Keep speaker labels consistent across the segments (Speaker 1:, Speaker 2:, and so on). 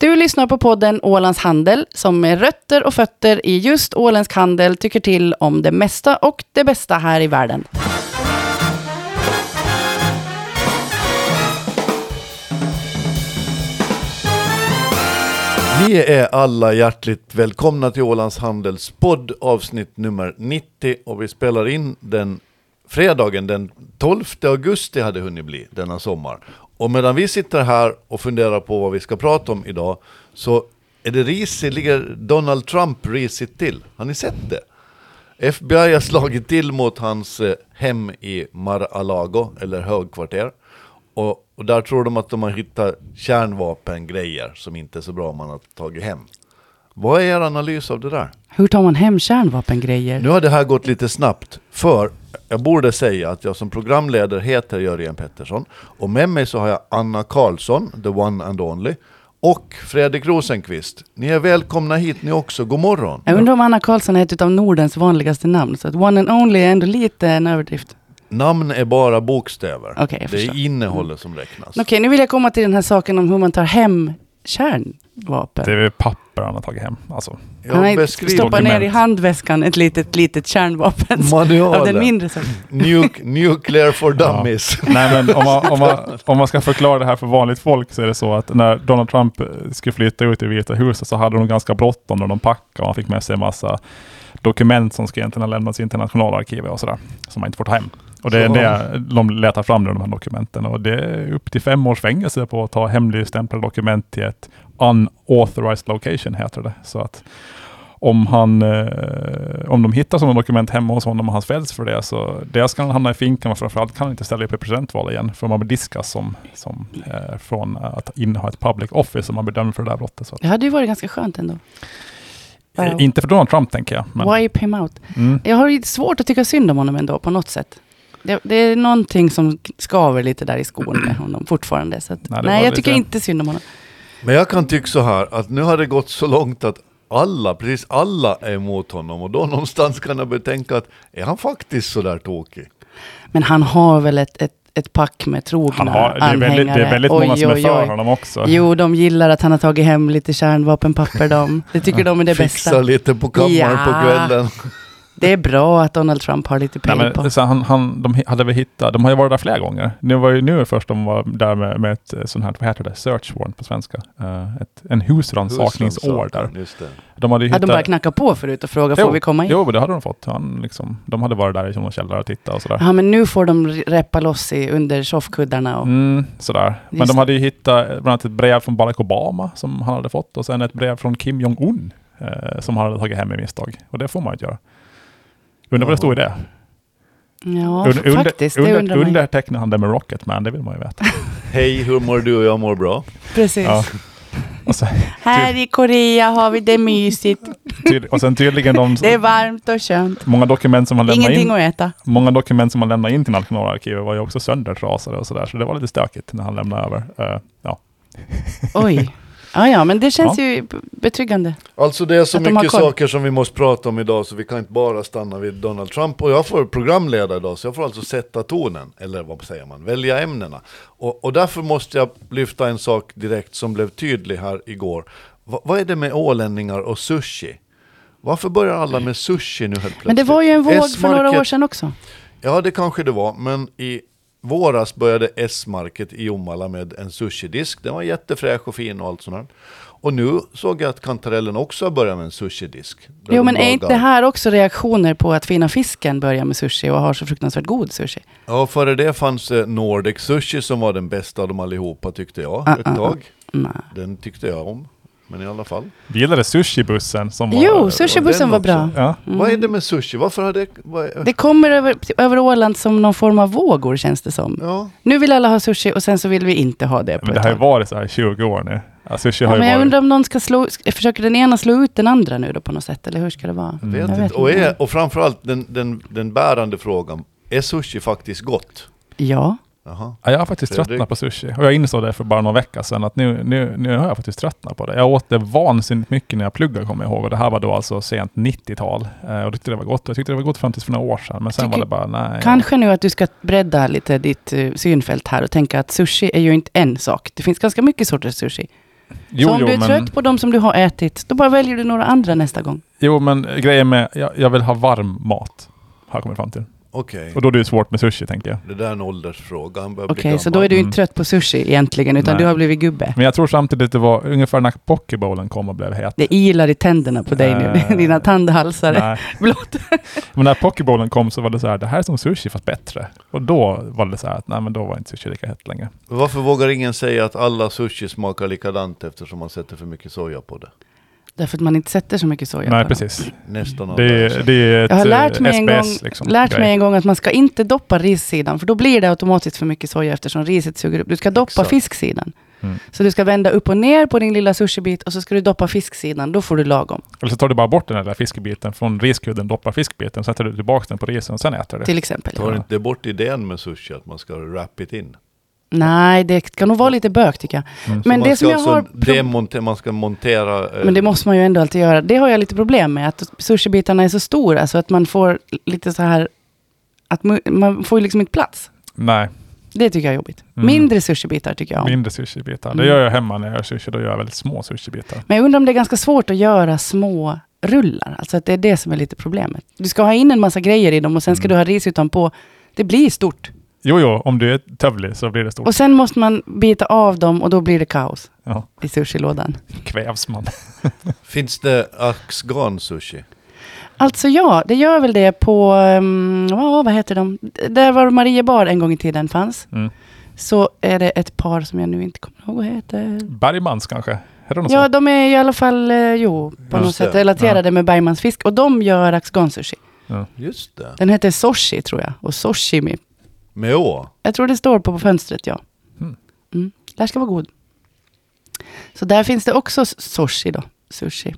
Speaker 1: Du lyssnar på podden Ålands Handel som med rötter och fötter i just åländsk handel tycker till om det mesta och det bästa här i världen.
Speaker 2: Ni är alla hjärtligt välkomna till Ålands Handels podd avsnitt nummer 90 och vi spelar in den fredagen den 12 augusti hade hunnit bli denna sommar. Och medan vi sitter här och funderar på vad vi ska prata om idag så är det risigt, ligger Donald Trump risigt till. Har ni sett det? FBI har slagit till mot hans eh, hem i Mar-a-Lago, eller högkvarter. Och, och där tror de att de har hittat kärnvapengrejer som inte är så bra man har tagit hem. Vad är er analys av det där?
Speaker 1: Hur tar man hem kärnvapengrejer?
Speaker 2: Nu har det här gått lite snabbt, för jag borde säga att jag som programledare heter Jörgen Pettersson och med mig så har jag Anna Karlsson, the one and only, och Fredrik Rosenqvist. Ni är välkomna hit ni också, god morgon!
Speaker 1: Jag undrar om Anna Karlsson är ett av Nordens vanligaste namn, så att one and only är ändå lite en överdrift.
Speaker 2: Namn är bara bokstäver,
Speaker 1: Okej, jag
Speaker 2: det är
Speaker 1: förstår. Mm.
Speaker 2: innehållet som räknas.
Speaker 1: Okej, nu vill jag komma till den här saken om hur man tar hem kärnvapen.
Speaker 3: Det är väl papper han har tagit hem. Alltså,
Speaker 1: Han har
Speaker 2: Jag
Speaker 1: ju
Speaker 2: beskriver
Speaker 1: stoppat ner i
Speaker 3: Dokument.
Speaker 1: handväskan ett litet, litet kärnvapen. Av den
Speaker 2: manualen,
Speaker 1: mindre saken.
Speaker 2: Nuke, Nuclear for
Speaker 3: Ja.
Speaker 2: Dummies.
Speaker 3: nej men om man, om, man, om man ska förklara det här för vanligt folk så är det så att när Donald Trump eh, skulle flytta ut i Vita huset så hade de ganska bråttom när de packade och han fick med sig en massa dokument som ska egentligen ha lämnats i internationalarkivet och sådär, som man inte får ta hem. Och det är
Speaker 2: Så-
Speaker 3: det de letar fram nu, de här dokumenten. Och det är upp till fem års fängelse på att ta hemligstämplade dokument till ett unauthorized location, heter det. Så att om, han, eh, om de hittar sådana dokument hemma hos honom och han fälls för det, så dels kan han hamna i finkan och framförallt kan han inte ställa upp i presidentval igen, för man bediskas som, som, eh, från att inneha ett public office om man blir dömd för det där brottet. Så att,
Speaker 1: Det hade ju varit ganska skönt ändå.
Speaker 3: eh, Inte för Donald Trump tänker jag. Men,
Speaker 1: Wipe him out.
Speaker 3: mm.
Speaker 1: Jag har ju svårt att tycka synd om honom ändå på något sätt. Det, det är någonting som skaver lite där i skon med honom fortfarande. Så att,
Speaker 3: Nej,
Speaker 1: nej,
Speaker 3: det var
Speaker 1: jag
Speaker 3: lite-
Speaker 1: tycker inte synd om honom.
Speaker 2: Men jag kan tycka så här att nu har det gått så långt att alla, precis alla är emot honom och då någonstans kan jag betänka att är han faktiskt så där tokig?
Speaker 1: Men han har väl ett, ett, ett pack med trogna
Speaker 3: Han har, det, är
Speaker 1: anhängare.
Speaker 3: väldigt, det är väldigt många som är för honom också.
Speaker 1: Jo, de gillar att han har tagit hem lite kärnvapenpapper. De. Det tycker de är det
Speaker 2: Fixar
Speaker 1: bästa.
Speaker 2: lite på kammaren
Speaker 1: Ja.
Speaker 2: på kvällen.
Speaker 1: Det är bra att Donald Trump har lite
Speaker 3: Nej,
Speaker 1: pejl på.
Speaker 3: men, så han, han, de hi- hade väl hittat, de har ju varit där flera gånger. Det var ju nu först de var där med, med ett eh, sånt här, vad heter det, search warrant på svenska. Eh, ett, en husrannsakningsår där.
Speaker 2: Just det.
Speaker 3: De hade ju
Speaker 1: Hade
Speaker 3: hittat...
Speaker 1: de bara knackat på förut och frågat
Speaker 3: Jo,
Speaker 1: får vi komma in?
Speaker 3: Jo, men det hade de fått. Han, liksom, de hade varit där i någon källare och tittat och sådär.
Speaker 1: Ja, men nu får de reppa loss i, under soffkuddarna. Och,
Speaker 3: Mm, sådär. Men
Speaker 1: Just
Speaker 3: de hade ju hittat eh, bland annat ett brev från Barack Obama som han hade fått och sen ett brev från Kim Jong-Un eh, som han hade tagit hem i misstag. Och det får man ju inte göra. Undrar vad det stod i det?
Speaker 1: Ja,
Speaker 3: Und- under,
Speaker 1: faktiskt. det
Speaker 3: under,
Speaker 1: undrar man ju.
Speaker 3: undertecknade han det med Rocketman? Det vill man ju veta.
Speaker 2: Hej, hur mår du? Jag mår bra.
Speaker 1: Precis.
Speaker 3: Ja. Och sen, Typ.
Speaker 1: Här i Korea har vi det mysigt.
Speaker 3: tyd, och sen tydligen de...
Speaker 1: Det är varmt och skönt.
Speaker 3: Många dokument, som man lämnade
Speaker 1: Ingenting
Speaker 3: in,
Speaker 1: att äta.
Speaker 3: många dokument som man lämnade in till Nationalarkivet var ju också söndertrasade och sådär, så det var lite stökigt när han lämnade över. Eh, ja.
Speaker 1: Oj. Ja, ja, men det känns ju b- betryggande.
Speaker 2: Alltså det är så
Speaker 1: Att de har
Speaker 2: mycket
Speaker 1: koll.
Speaker 2: saker som vi måste prata om idag så vi kan inte bara stanna vid Donald Trump. Och jag får programleda idag så jag får alltså sätta tonen, eller vad säger man, välja ämnena. Och, och därför måste jag lyfta en sak direkt som blev tydlig här igår. Va, vad är det med ålänningar och sushi? Varför börjar alla med sushi nu helt plötsligt?
Speaker 1: Men det var ju en våg för några
Speaker 2: S-market
Speaker 1: år sedan också.
Speaker 2: Ja, det kanske det var, men i våras började S-market i Jomala med en sushidisk. Den var jättefräsch och fin och allt sånt. där. Och nu såg jag att kantarellen också har börjat med en sushidisk. Där
Speaker 1: Jo,
Speaker 2: de
Speaker 1: men är
Speaker 2: lagar-
Speaker 1: inte det här också reaktioner på att fina fisken börjar med sushi och har så fruktansvärt god sushi?
Speaker 2: Ja, före det fanns eh, Nordic Sushi som var den bästa av dem allihopa tyckte jag ett
Speaker 1: ah,
Speaker 2: tag.
Speaker 1: Nej.
Speaker 2: Den tyckte jag om, men i alla fall.
Speaker 3: Vi gillade sushibussen som var...
Speaker 1: Jo, sushibussen
Speaker 2: den
Speaker 1: var bra.
Speaker 2: också.
Speaker 3: Ja.
Speaker 2: Vad är det med sushi? Varför har det... Vad är...
Speaker 1: Mm. Det kommer över, över Åland som någon form av vågor känns det som.
Speaker 2: Ja.
Speaker 1: Nu vill alla ha sushi och sen så vill vi inte ha det på
Speaker 3: Men det
Speaker 1: ett
Speaker 3: har ju
Speaker 1: tag.
Speaker 3: varit så här i 20 år nu. Ja, sushi har
Speaker 1: Ja,
Speaker 3: ju
Speaker 1: men jag
Speaker 3: varit...
Speaker 1: undrar om någon ska slå, sk- försöker den ena slå ut den andra nu då på något sätt, eller hur ska det vara?
Speaker 2: Jag vet
Speaker 1: Mm. Jag vet
Speaker 2: inte. Och,
Speaker 1: inte.
Speaker 2: är, och framförallt den, den, den bärande frågan, är sushi faktiskt gott?
Speaker 1: Ja.
Speaker 2: Jaha.
Speaker 3: Ja, jag har faktiskt
Speaker 2: Fredrik.
Speaker 3: tröttnat på sushi. Och jag insåg det för bara någon vecka sedan, att nu, nu, nu har jag faktiskt tröttnat på det. Jag åt det vansinnigt mycket när jag pluggade, kommer jag ihåg. Och det här var då alltså sent 90-tal. Eh, och jag tyckte det var gott. Jag tyckte det var gott fram tills för några år sedan. Men sen
Speaker 1: Tycker-
Speaker 3: var det bara, nej.
Speaker 1: Kanske nu att du ska bredda lite ditt eh, synfält här och tänka att sushi är ju inte en sak. Det finns ganska mycket sorters sushi.
Speaker 3: Jo,
Speaker 1: så om
Speaker 3: jo,
Speaker 1: du är
Speaker 3: men-
Speaker 1: trött på de som du har ätit, då bara väljer du några andra nästa gång.
Speaker 3: Jo, men grejen med, jag, jag vill ha varm mat. Har jag kommit fram till.
Speaker 2: Okej,
Speaker 3: Och då är det ju svårt med sushi, tänker jag.
Speaker 2: det där är en åldersfråga. Han börjar bli
Speaker 1: Okej,
Speaker 2: gammal.
Speaker 1: så då är du
Speaker 3: Mm.
Speaker 1: inte trött på sushi egentligen, utan
Speaker 3: Nej.
Speaker 1: du har blivit gubbe.
Speaker 3: Men jag tror samtidigt det var ungefär när pokebowlen kom och blev het.
Speaker 1: Det ilar i tänderna på dig nu,
Speaker 3: Eh,
Speaker 1: dina tandhalsare.
Speaker 3: Nej.
Speaker 1: Blått.
Speaker 3: Men när pokebowlen kom så var det så här, det här är som sushi fast bättre. Och då var det så här att, nej men då var inte sushi lika hett längre.
Speaker 2: Varför vågar ingen säga att alla sushi smakar likadant eftersom man sätter för mycket soja på det?
Speaker 1: Därför att man inte sätter så mycket soja på
Speaker 3: nej,
Speaker 1: dem.
Speaker 3: precis.
Speaker 2: Nästan alla.
Speaker 3: Det, är- det är ett
Speaker 1: Jag har lärt
Speaker 3: eh,
Speaker 1: mig, en gång,
Speaker 3: SBS liksom.
Speaker 1: lärt
Speaker 3: grej.
Speaker 1: mig en gång att man ska inte doppa rissidan, för då blir det automatiskt för mycket soja eftersom riset suger upp. Du ska doppa
Speaker 2: Exakt.
Speaker 1: fisksidan.
Speaker 3: Mm.
Speaker 1: Så du ska vända upp och ner på din lilla sushibit och så ska du doppa fisksidan, då får du lagom.
Speaker 3: Eller så tar du bara bort den där lilla fiskebiten från riskudden, doppar fiskbiten, sätter du tillbaka den på risen och sen äter du.
Speaker 1: Till exempel.
Speaker 2: Tar inte bort idén med sushi att man ska wrap it in?
Speaker 1: Nej, det kan nog vara lite bök tycker jag.
Speaker 3: Mm.
Speaker 1: Men
Speaker 2: man
Speaker 1: det
Speaker 2: ska
Speaker 1: som jag har...
Speaker 2: alltså demonte- man ska montera... eh,
Speaker 1: Men det måste man ju ändå alltid göra. Det har jag lite problem med, att sushibitarna är så stora så att man får lite så här... Att mu- man får ju liksom inte plats.
Speaker 3: Nej,
Speaker 1: Det tycker jag är jobbigt.
Speaker 3: Mm.
Speaker 1: Mindre sushibitar tycker jag om.
Speaker 3: mindre sushibitar.
Speaker 1: Mm.
Speaker 3: Det gör jag hemma när jag gör sushi, då gör jag väldigt små sushibitar.
Speaker 1: Men jag undrar om det är ganska svårt att göra små rullar. Alltså att det är det som är lite problemet. Du ska ha in en massa grejer i dem och sen ska
Speaker 3: Mm.
Speaker 1: du ha ris utanpå. Det blir stort.
Speaker 3: Jo, jo, om du är tövlig så blir det stort.
Speaker 1: Och sen måste man bita av dem och då blir det kaos
Speaker 3: Ja,
Speaker 1: i sushilådan.
Speaker 3: kvävs man.
Speaker 2: Finns det axgran sushi?
Speaker 1: Alltså ja, det gör väl det på, um, vad heter de? D- Där var Mariebar en gång i tiden fanns.
Speaker 3: Mm.
Speaker 1: Så är det ett par som jag nu inte kommer ihåg vad heter.
Speaker 3: Bergmans kanske? Är det något
Speaker 1: Ja,
Speaker 3: sånt?
Speaker 1: de är i alla fall, eh, jo, på
Speaker 2: Just
Speaker 1: något sätt
Speaker 2: det.
Speaker 1: relaterade med Bergmans fisk. Och de gör axgon sushi.
Speaker 2: Just det.
Speaker 1: Den heter Soshi tror jag, och Soshimi
Speaker 2: Med å?
Speaker 1: Jag tror det står på, på fönstret, ja.
Speaker 3: Mm.
Speaker 1: Mm. Där ska vara god. Så där finns det också s- sushi då. Sushi.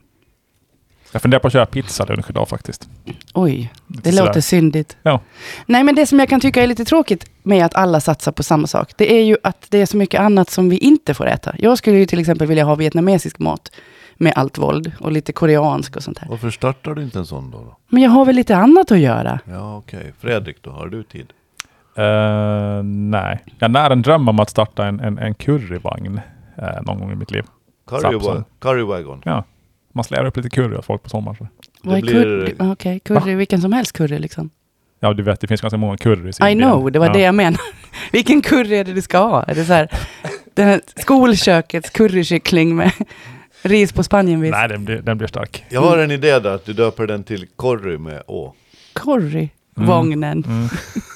Speaker 3: Jag funderar på att köra pizza lunch idag faktiskt.
Speaker 1: Oj,
Speaker 3: Lite
Speaker 1: det
Speaker 3: sådär.
Speaker 1: låter syndigt.
Speaker 3: Ja.
Speaker 1: Nej, men det som jag kan tycka är lite tråkigt med att alla satsar på samma sak, det är ju att det är så mycket annat som vi inte får äta. Jag skulle ju till exempel vilja ha vietnamesisk mat med allt våld och lite koreansk och sånt här.
Speaker 2: Varför startar du inte en sån då? då?
Speaker 1: Men jag har väl lite annat att göra.
Speaker 2: Ja, okej. Fredrik, då har du tid?
Speaker 3: Eh, nej, jag när en dröm om att starta en, en, en curryvagn eh, någon gång i mitt liv.
Speaker 2: Curry,
Speaker 3: Sapsam.
Speaker 2: curry wagon.
Speaker 3: Man slär upp lite curry åt folk på sommaren. så.
Speaker 2: Det
Speaker 1: Vad är
Speaker 2: blir-
Speaker 1: curry? Ah, Okej, curry, vilken som helst curry liksom.
Speaker 3: Ja, du vet, det finns ganska många currys.
Speaker 1: I know, det var det jag menade. Vilken curry är det du ska ha? Är det så här, det här skolkökets currykyckling med ris på spanienvis?
Speaker 3: Nej, den blir, den blir stark.
Speaker 2: Jag har en idé där, att du döper den till Corry med å.
Speaker 1: Curry.
Speaker 3: Mm.
Speaker 1: Vågnen.
Speaker 3: Mm.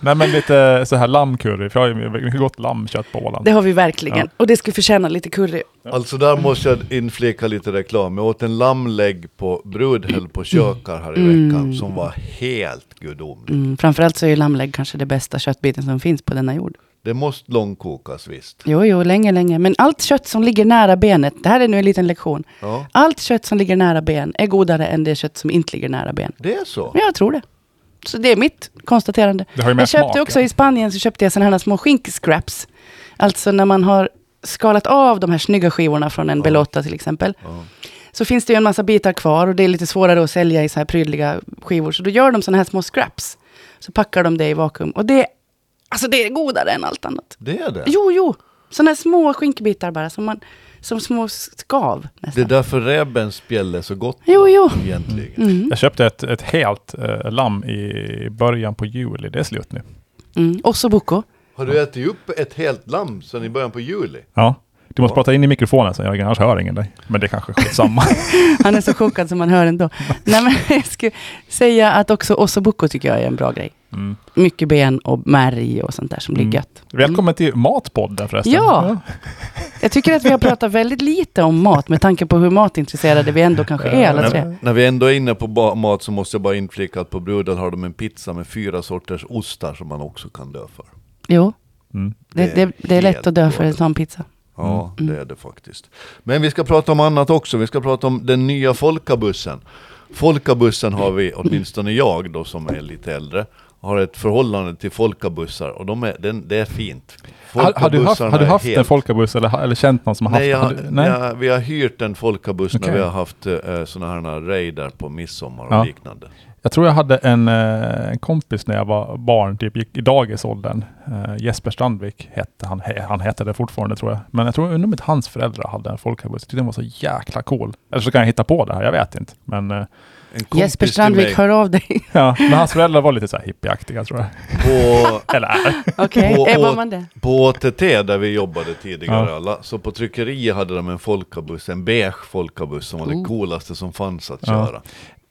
Speaker 3: nej, men lite så här lammcurry, för jag har ju mycket gott lammkött på Åland.
Speaker 1: Det har vi verkligen. Och det skulle förtjäna lite curry.
Speaker 2: Alltså där måste jag inflika lite reklam. Jag åt en lammlägg på Brudhäll på Kökar här i
Speaker 1: Mm.
Speaker 2: veckan som var helt gudomlig.
Speaker 1: Mm, framförallt så är ju lammlägg kanske det bästa köttbiten som finns på denna jord.
Speaker 2: Det måste långkokas visst.
Speaker 1: Jo, jo, länge, länge. Men allt kött som ligger nära benet, det här är nu en liten lektion.
Speaker 2: Ja,
Speaker 1: Allt kött som ligger nära ben är godare än det kött som inte ligger nära ben.
Speaker 2: det är så.
Speaker 1: Men jag tror det. Så det är mitt konstaterande.
Speaker 3: Det har ju mer
Speaker 1: Jag köpte
Speaker 3: smak,
Speaker 1: också
Speaker 3: ja.
Speaker 1: i Spanien så köpte jag sådana här små skinkscraps. Alltså när man har skalat av de här snygga skivorna från en Belotta till exempel.
Speaker 2: Ja.
Speaker 1: Så finns det ju en massa bitar kvar och det är lite svårare att sälja i så här prydliga skivor. Så då gör de sådana här små scraps. Så packar de det i vakuum. Och det, alltså det är godare än allt annat.
Speaker 2: Det är det.
Speaker 1: Jo, jo. Sådana här små skinkbitar bara som, man, som små skav
Speaker 2: Det är
Speaker 1: nästan.
Speaker 2: därför räbens spjäll är så gott
Speaker 1: Jo, jo.
Speaker 2: egentligen.
Speaker 1: Mm.
Speaker 3: Jag köpte ett, ett helt eh, lamm i början på juli. Det är slut nu.
Speaker 1: Mm. Ossobuco.
Speaker 2: Har du ätit upp ett helt lamm sedan i början på juli?
Speaker 3: Ja. Du måste
Speaker 2: Ja.
Speaker 3: prata in i mikrofonen sen, Jörgen, annars hör ingen dig. Men det är kanske är samma.
Speaker 1: Han är så chockad som man hör ändå. Nej, men jag skulle säga att också ossobuco tycker jag är en bra grej.
Speaker 3: Mm.
Speaker 1: Mycket ben och märg och sånt där som
Speaker 3: Mm.
Speaker 1: blir gött.
Speaker 3: Välkommen till Matpodden förresten.
Speaker 1: Ja. Jag tycker att vi har pratat väldigt lite om mat med tanke på hur matintresserade vi ändå kanske är alla tre.
Speaker 2: När vi ändå är inne på ba- mat så måste jag bara inflika att på Brudel har de en pizza med fyra sorters ostar som man också kan dö för.
Speaker 1: Jo,
Speaker 3: Mm.
Speaker 1: det,
Speaker 2: Det är
Speaker 1: det, det är lätt
Speaker 2: helt
Speaker 1: att dö för en
Speaker 2: galet.
Speaker 1: sån pizza.
Speaker 2: Ja, det är det faktiskt. Men vi ska prata om annat också. Vi ska prata om den nya folkabussen. Folkabussen har vi, åtminstone jag då som är lite äldre, har ett förhållande till folkabussar och de är, den, det är fint.
Speaker 3: Har, har du haft,
Speaker 2: Folkabussarna
Speaker 3: har du
Speaker 2: är
Speaker 3: haft en
Speaker 2: helt-
Speaker 3: folkabuss eller, ha- eller känt någon som har haft
Speaker 2: Nej,
Speaker 3: har
Speaker 2: jag,
Speaker 3: du, nej?
Speaker 2: Jag, vi har hyrt en folkabuss när
Speaker 3: Okej.
Speaker 2: vi har haft eh, sådana här raider på midsommar och
Speaker 3: Ja.
Speaker 2: liknande.
Speaker 3: Jag Jag tror jag hade en, eh, en kompis när jag var barn, typ gick i dagisåldern. Eh, Jesper Strandvik hette han. He, han hette det fortfarande tror jag. Men jag tror, undrar om inte hans föräldrar hade en folkarbus. Jag tyckte den var så jäkla cool. Eller så kan jag hitta på det här, jag vet inte. Men, eh,
Speaker 2: En kompis
Speaker 1: Jesper
Speaker 2: till mig
Speaker 1: Strandvik, hör av dig.
Speaker 3: ja. Men hans föräldrar var lite så här hippieaktiga tror jag.
Speaker 2: på,
Speaker 3: Eller är.
Speaker 1: Okej,
Speaker 2: Och-
Speaker 1: är
Speaker 2: och-
Speaker 1: man det?
Speaker 2: på OTT där vi jobbade tidigare
Speaker 3: Ja.
Speaker 2: alla, så på tryckeriet hade de en folkabuss, en beige folkabuss som var det
Speaker 1: Oh.
Speaker 2: coolaste som fanns att
Speaker 3: Ja.
Speaker 2: köra.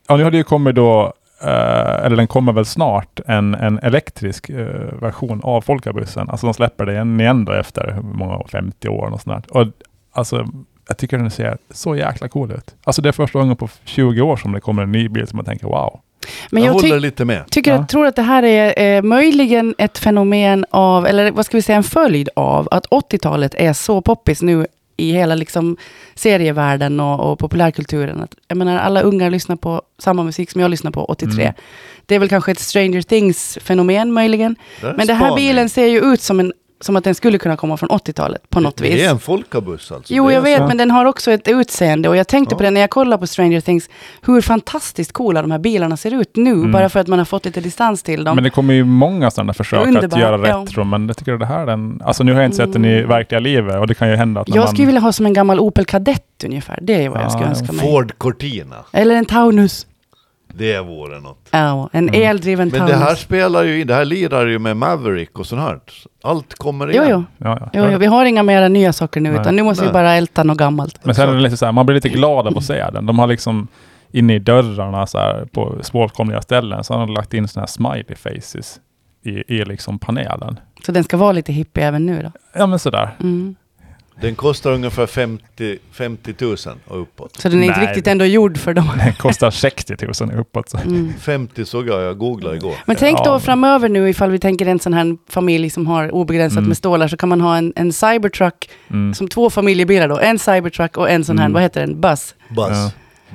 Speaker 3: Ja, nu har det ju kommit då, eh, eller den kommer väl snart, en, en elektrisk eh, version av folkabussen. Alltså de släpper den igen då efter hur många år, 50 år och sånt där. Och alltså, jag tycker den ser så jäkla cool ut. Alltså det är första gången på 20 år som det kommer en ny bil som man tänker wow.
Speaker 1: Men
Speaker 2: jag
Speaker 1: jag ty-
Speaker 2: håller lite med.
Speaker 1: tycker
Speaker 3: Ja.
Speaker 1: jag tror att det här är eh, möjligen ett fenomen av, eller vad ska vi säga, en följd av att 80-talet är så poppis nu i hela liksom serievärlden och, och populärkulturen. Att, jag menar, alla ungar lyssnar på samma musik som jag lyssnar på 83.
Speaker 3: Mm.
Speaker 1: Det är väl kanske ett Stranger Things-fenomen möjligen.
Speaker 2: Där är
Speaker 1: Men den här
Speaker 2: spaning.
Speaker 1: bilen ser ju ut som, en, som att den skulle kunna komma från 80-talet på något vis.
Speaker 2: Det är en folkabuss alltså.
Speaker 1: Jo,
Speaker 2: Det är
Speaker 1: jag vet,
Speaker 3: så.
Speaker 1: men den har också ett utseende. Och jag tänkte
Speaker 2: Ja.
Speaker 1: på det när jag kollade på Stranger Things, hur fantastiskt coola de här bilarna ser ut nu,
Speaker 3: Mm.
Speaker 1: bara för att man har fått lite distans till dem.
Speaker 3: Men det kommer ju många sådana försök
Speaker 1: Underbar,
Speaker 3: att göra
Speaker 1: ja.
Speaker 3: retro. Men jag tycker att det här är en... Alltså nu har jag inte sett den i
Speaker 1: Mm.
Speaker 3: verkliga livet och det kan ju hända att när
Speaker 1: jag
Speaker 3: man...
Speaker 1: skulle vilja ha som en gammal Opel Kadett ungefär. Det är vad
Speaker 3: Ja,
Speaker 1: jag skulle
Speaker 3: en
Speaker 1: önska mig.
Speaker 2: Ford Cortina,
Speaker 1: Eller en Taunus.
Speaker 2: det vore något.
Speaker 1: Ja, en
Speaker 3: Mm.
Speaker 1: eldriven
Speaker 2: Men
Speaker 1: Taunus.
Speaker 2: det här spelar ju, in- det här lirar ju med Maverick och sånt här. Allt kommer
Speaker 1: Jo,
Speaker 2: igen.
Speaker 1: jo.
Speaker 3: Ja, ja.
Speaker 1: Jo, jo, vi har inga mera nya saker nu,
Speaker 3: Nej.
Speaker 1: utan nu måste
Speaker 2: Nej.
Speaker 1: vi bara älta något gammalt.
Speaker 3: Men sen är det lite så här, man blir lite glad av att se den. De har liksom inne i dörrarna så här, på svåråtkomliga ställen, så har de lagt in sådana här smiley faces i, i liksom panelen.
Speaker 1: Så den ska vara lite hippie även nu då.
Speaker 3: Ja men sådär.
Speaker 1: Mm.
Speaker 2: Den kostar ungefär 50, 50 000 och uppåt.
Speaker 1: Så den är inte
Speaker 3: Nej.
Speaker 1: riktigt ändå gjord för dem.
Speaker 3: Den kostar 60 000 uppåt. Så.
Speaker 1: Mm.
Speaker 2: 50 såg jag, jag googlade igår.
Speaker 1: Men tänk
Speaker 3: Ja,
Speaker 1: då
Speaker 3: men-
Speaker 1: framöver nu ifall vi tänker en sån här familj som har obegränsat
Speaker 3: Mm.
Speaker 1: med stålar så kan man ha en, en cybertruck
Speaker 3: Mm.
Speaker 1: som två familjebilar då. En cybertruck och en sån här,
Speaker 3: Mm.
Speaker 1: vad heter den, buss.
Speaker 2: Buss.
Speaker 3: Ja.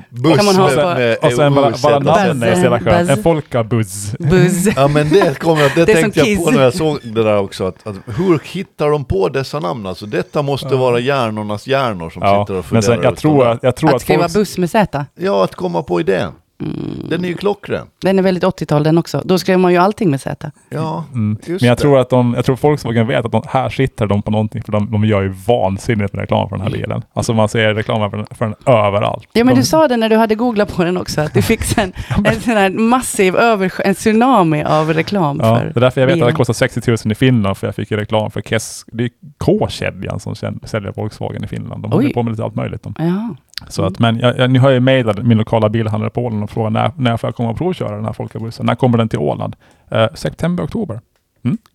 Speaker 2: Buss
Speaker 1: Kan man ha
Speaker 2: med,
Speaker 1: på-
Speaker 2: med
Speaker 3: Och sen bara, bara
Speaker 2: OZ.
Speaker 3: namnet är så jävla skönt.
Speaker 1: Buzz.
Speaker 3: En folkabuzz.
Speaker 1: Buzz.
Speaker 2: Ja men det kom jag, det,
Speaker 1: Det är
Speaker 2: tänkte
Speaker 1: som
Speaker 2: jag på
Speaker 1: Kiss.
Speaker 2: när jag såg det där också. Att, att hur hittar de på dessa namn? Alltså detta måste
Speaker 3: Ja.
Speaker 2: vara hjärnornas hjärnor som
Speaker 3: Ja,
Speaker 2: sitter och funderar.
Speaker 3: men sen, jag
Speaker 2: ut de
Speaker 3: tror
Speaker 2: där.
Speaker 3: att, jag tror
Speaker 1: Att
Speaker 3: att,
Speaker 1: skriva
Speaker 3: folk...
Speaker 1: buss med Z.
Speaker 2: Ja, att komma på idén.
Speaker 1: Mm.
Speaker 2: Den är ju klockren.
Speaker 1: Den är väldigt 80-tal den också. Då skrev man ju allting med Z.
Speaker 2: Ja,
Speaker 3: Mm.
Speaker 2: just
Speaker 3: Men jag
Speaker 2: det.
Speaker 3: tror att de, jag tror folksvagen vet att de, här sitter de på någonting för de, de gör ju vansinnigt med reklam för den här bilen. Alltså man ser reklam för den, för den överallt.
Speaker 1: Ja men
Speaker 3: de,
Speaker 1: du sa det när du hade googlat på den också, att du fick sen en sån här massiv översk- en tsunami av reklam
Speaker 3: Ja,
Speaker 1: för
Speaker 3: det är därför jag vet att det
Speaker 1: bilen.
Speaker 3: kostar 60 000 i Finland, för jag fick ju reklam för Kes, det är K-kedjan som kän- säljer Volkswagen i Finland. De håller
Speaker 1: Oj. Mm.
Speaker 3: på med lite allt möjligt. De.
Speaker 1: Ja.
Speaker 3: Så att, men jag, jag, nu har jag mejlat min lokala bilhandlare på Åland och frågat när, när får jag komma och provköra den här folkabussen? När kommer den till Åland? Eh, september, oktober.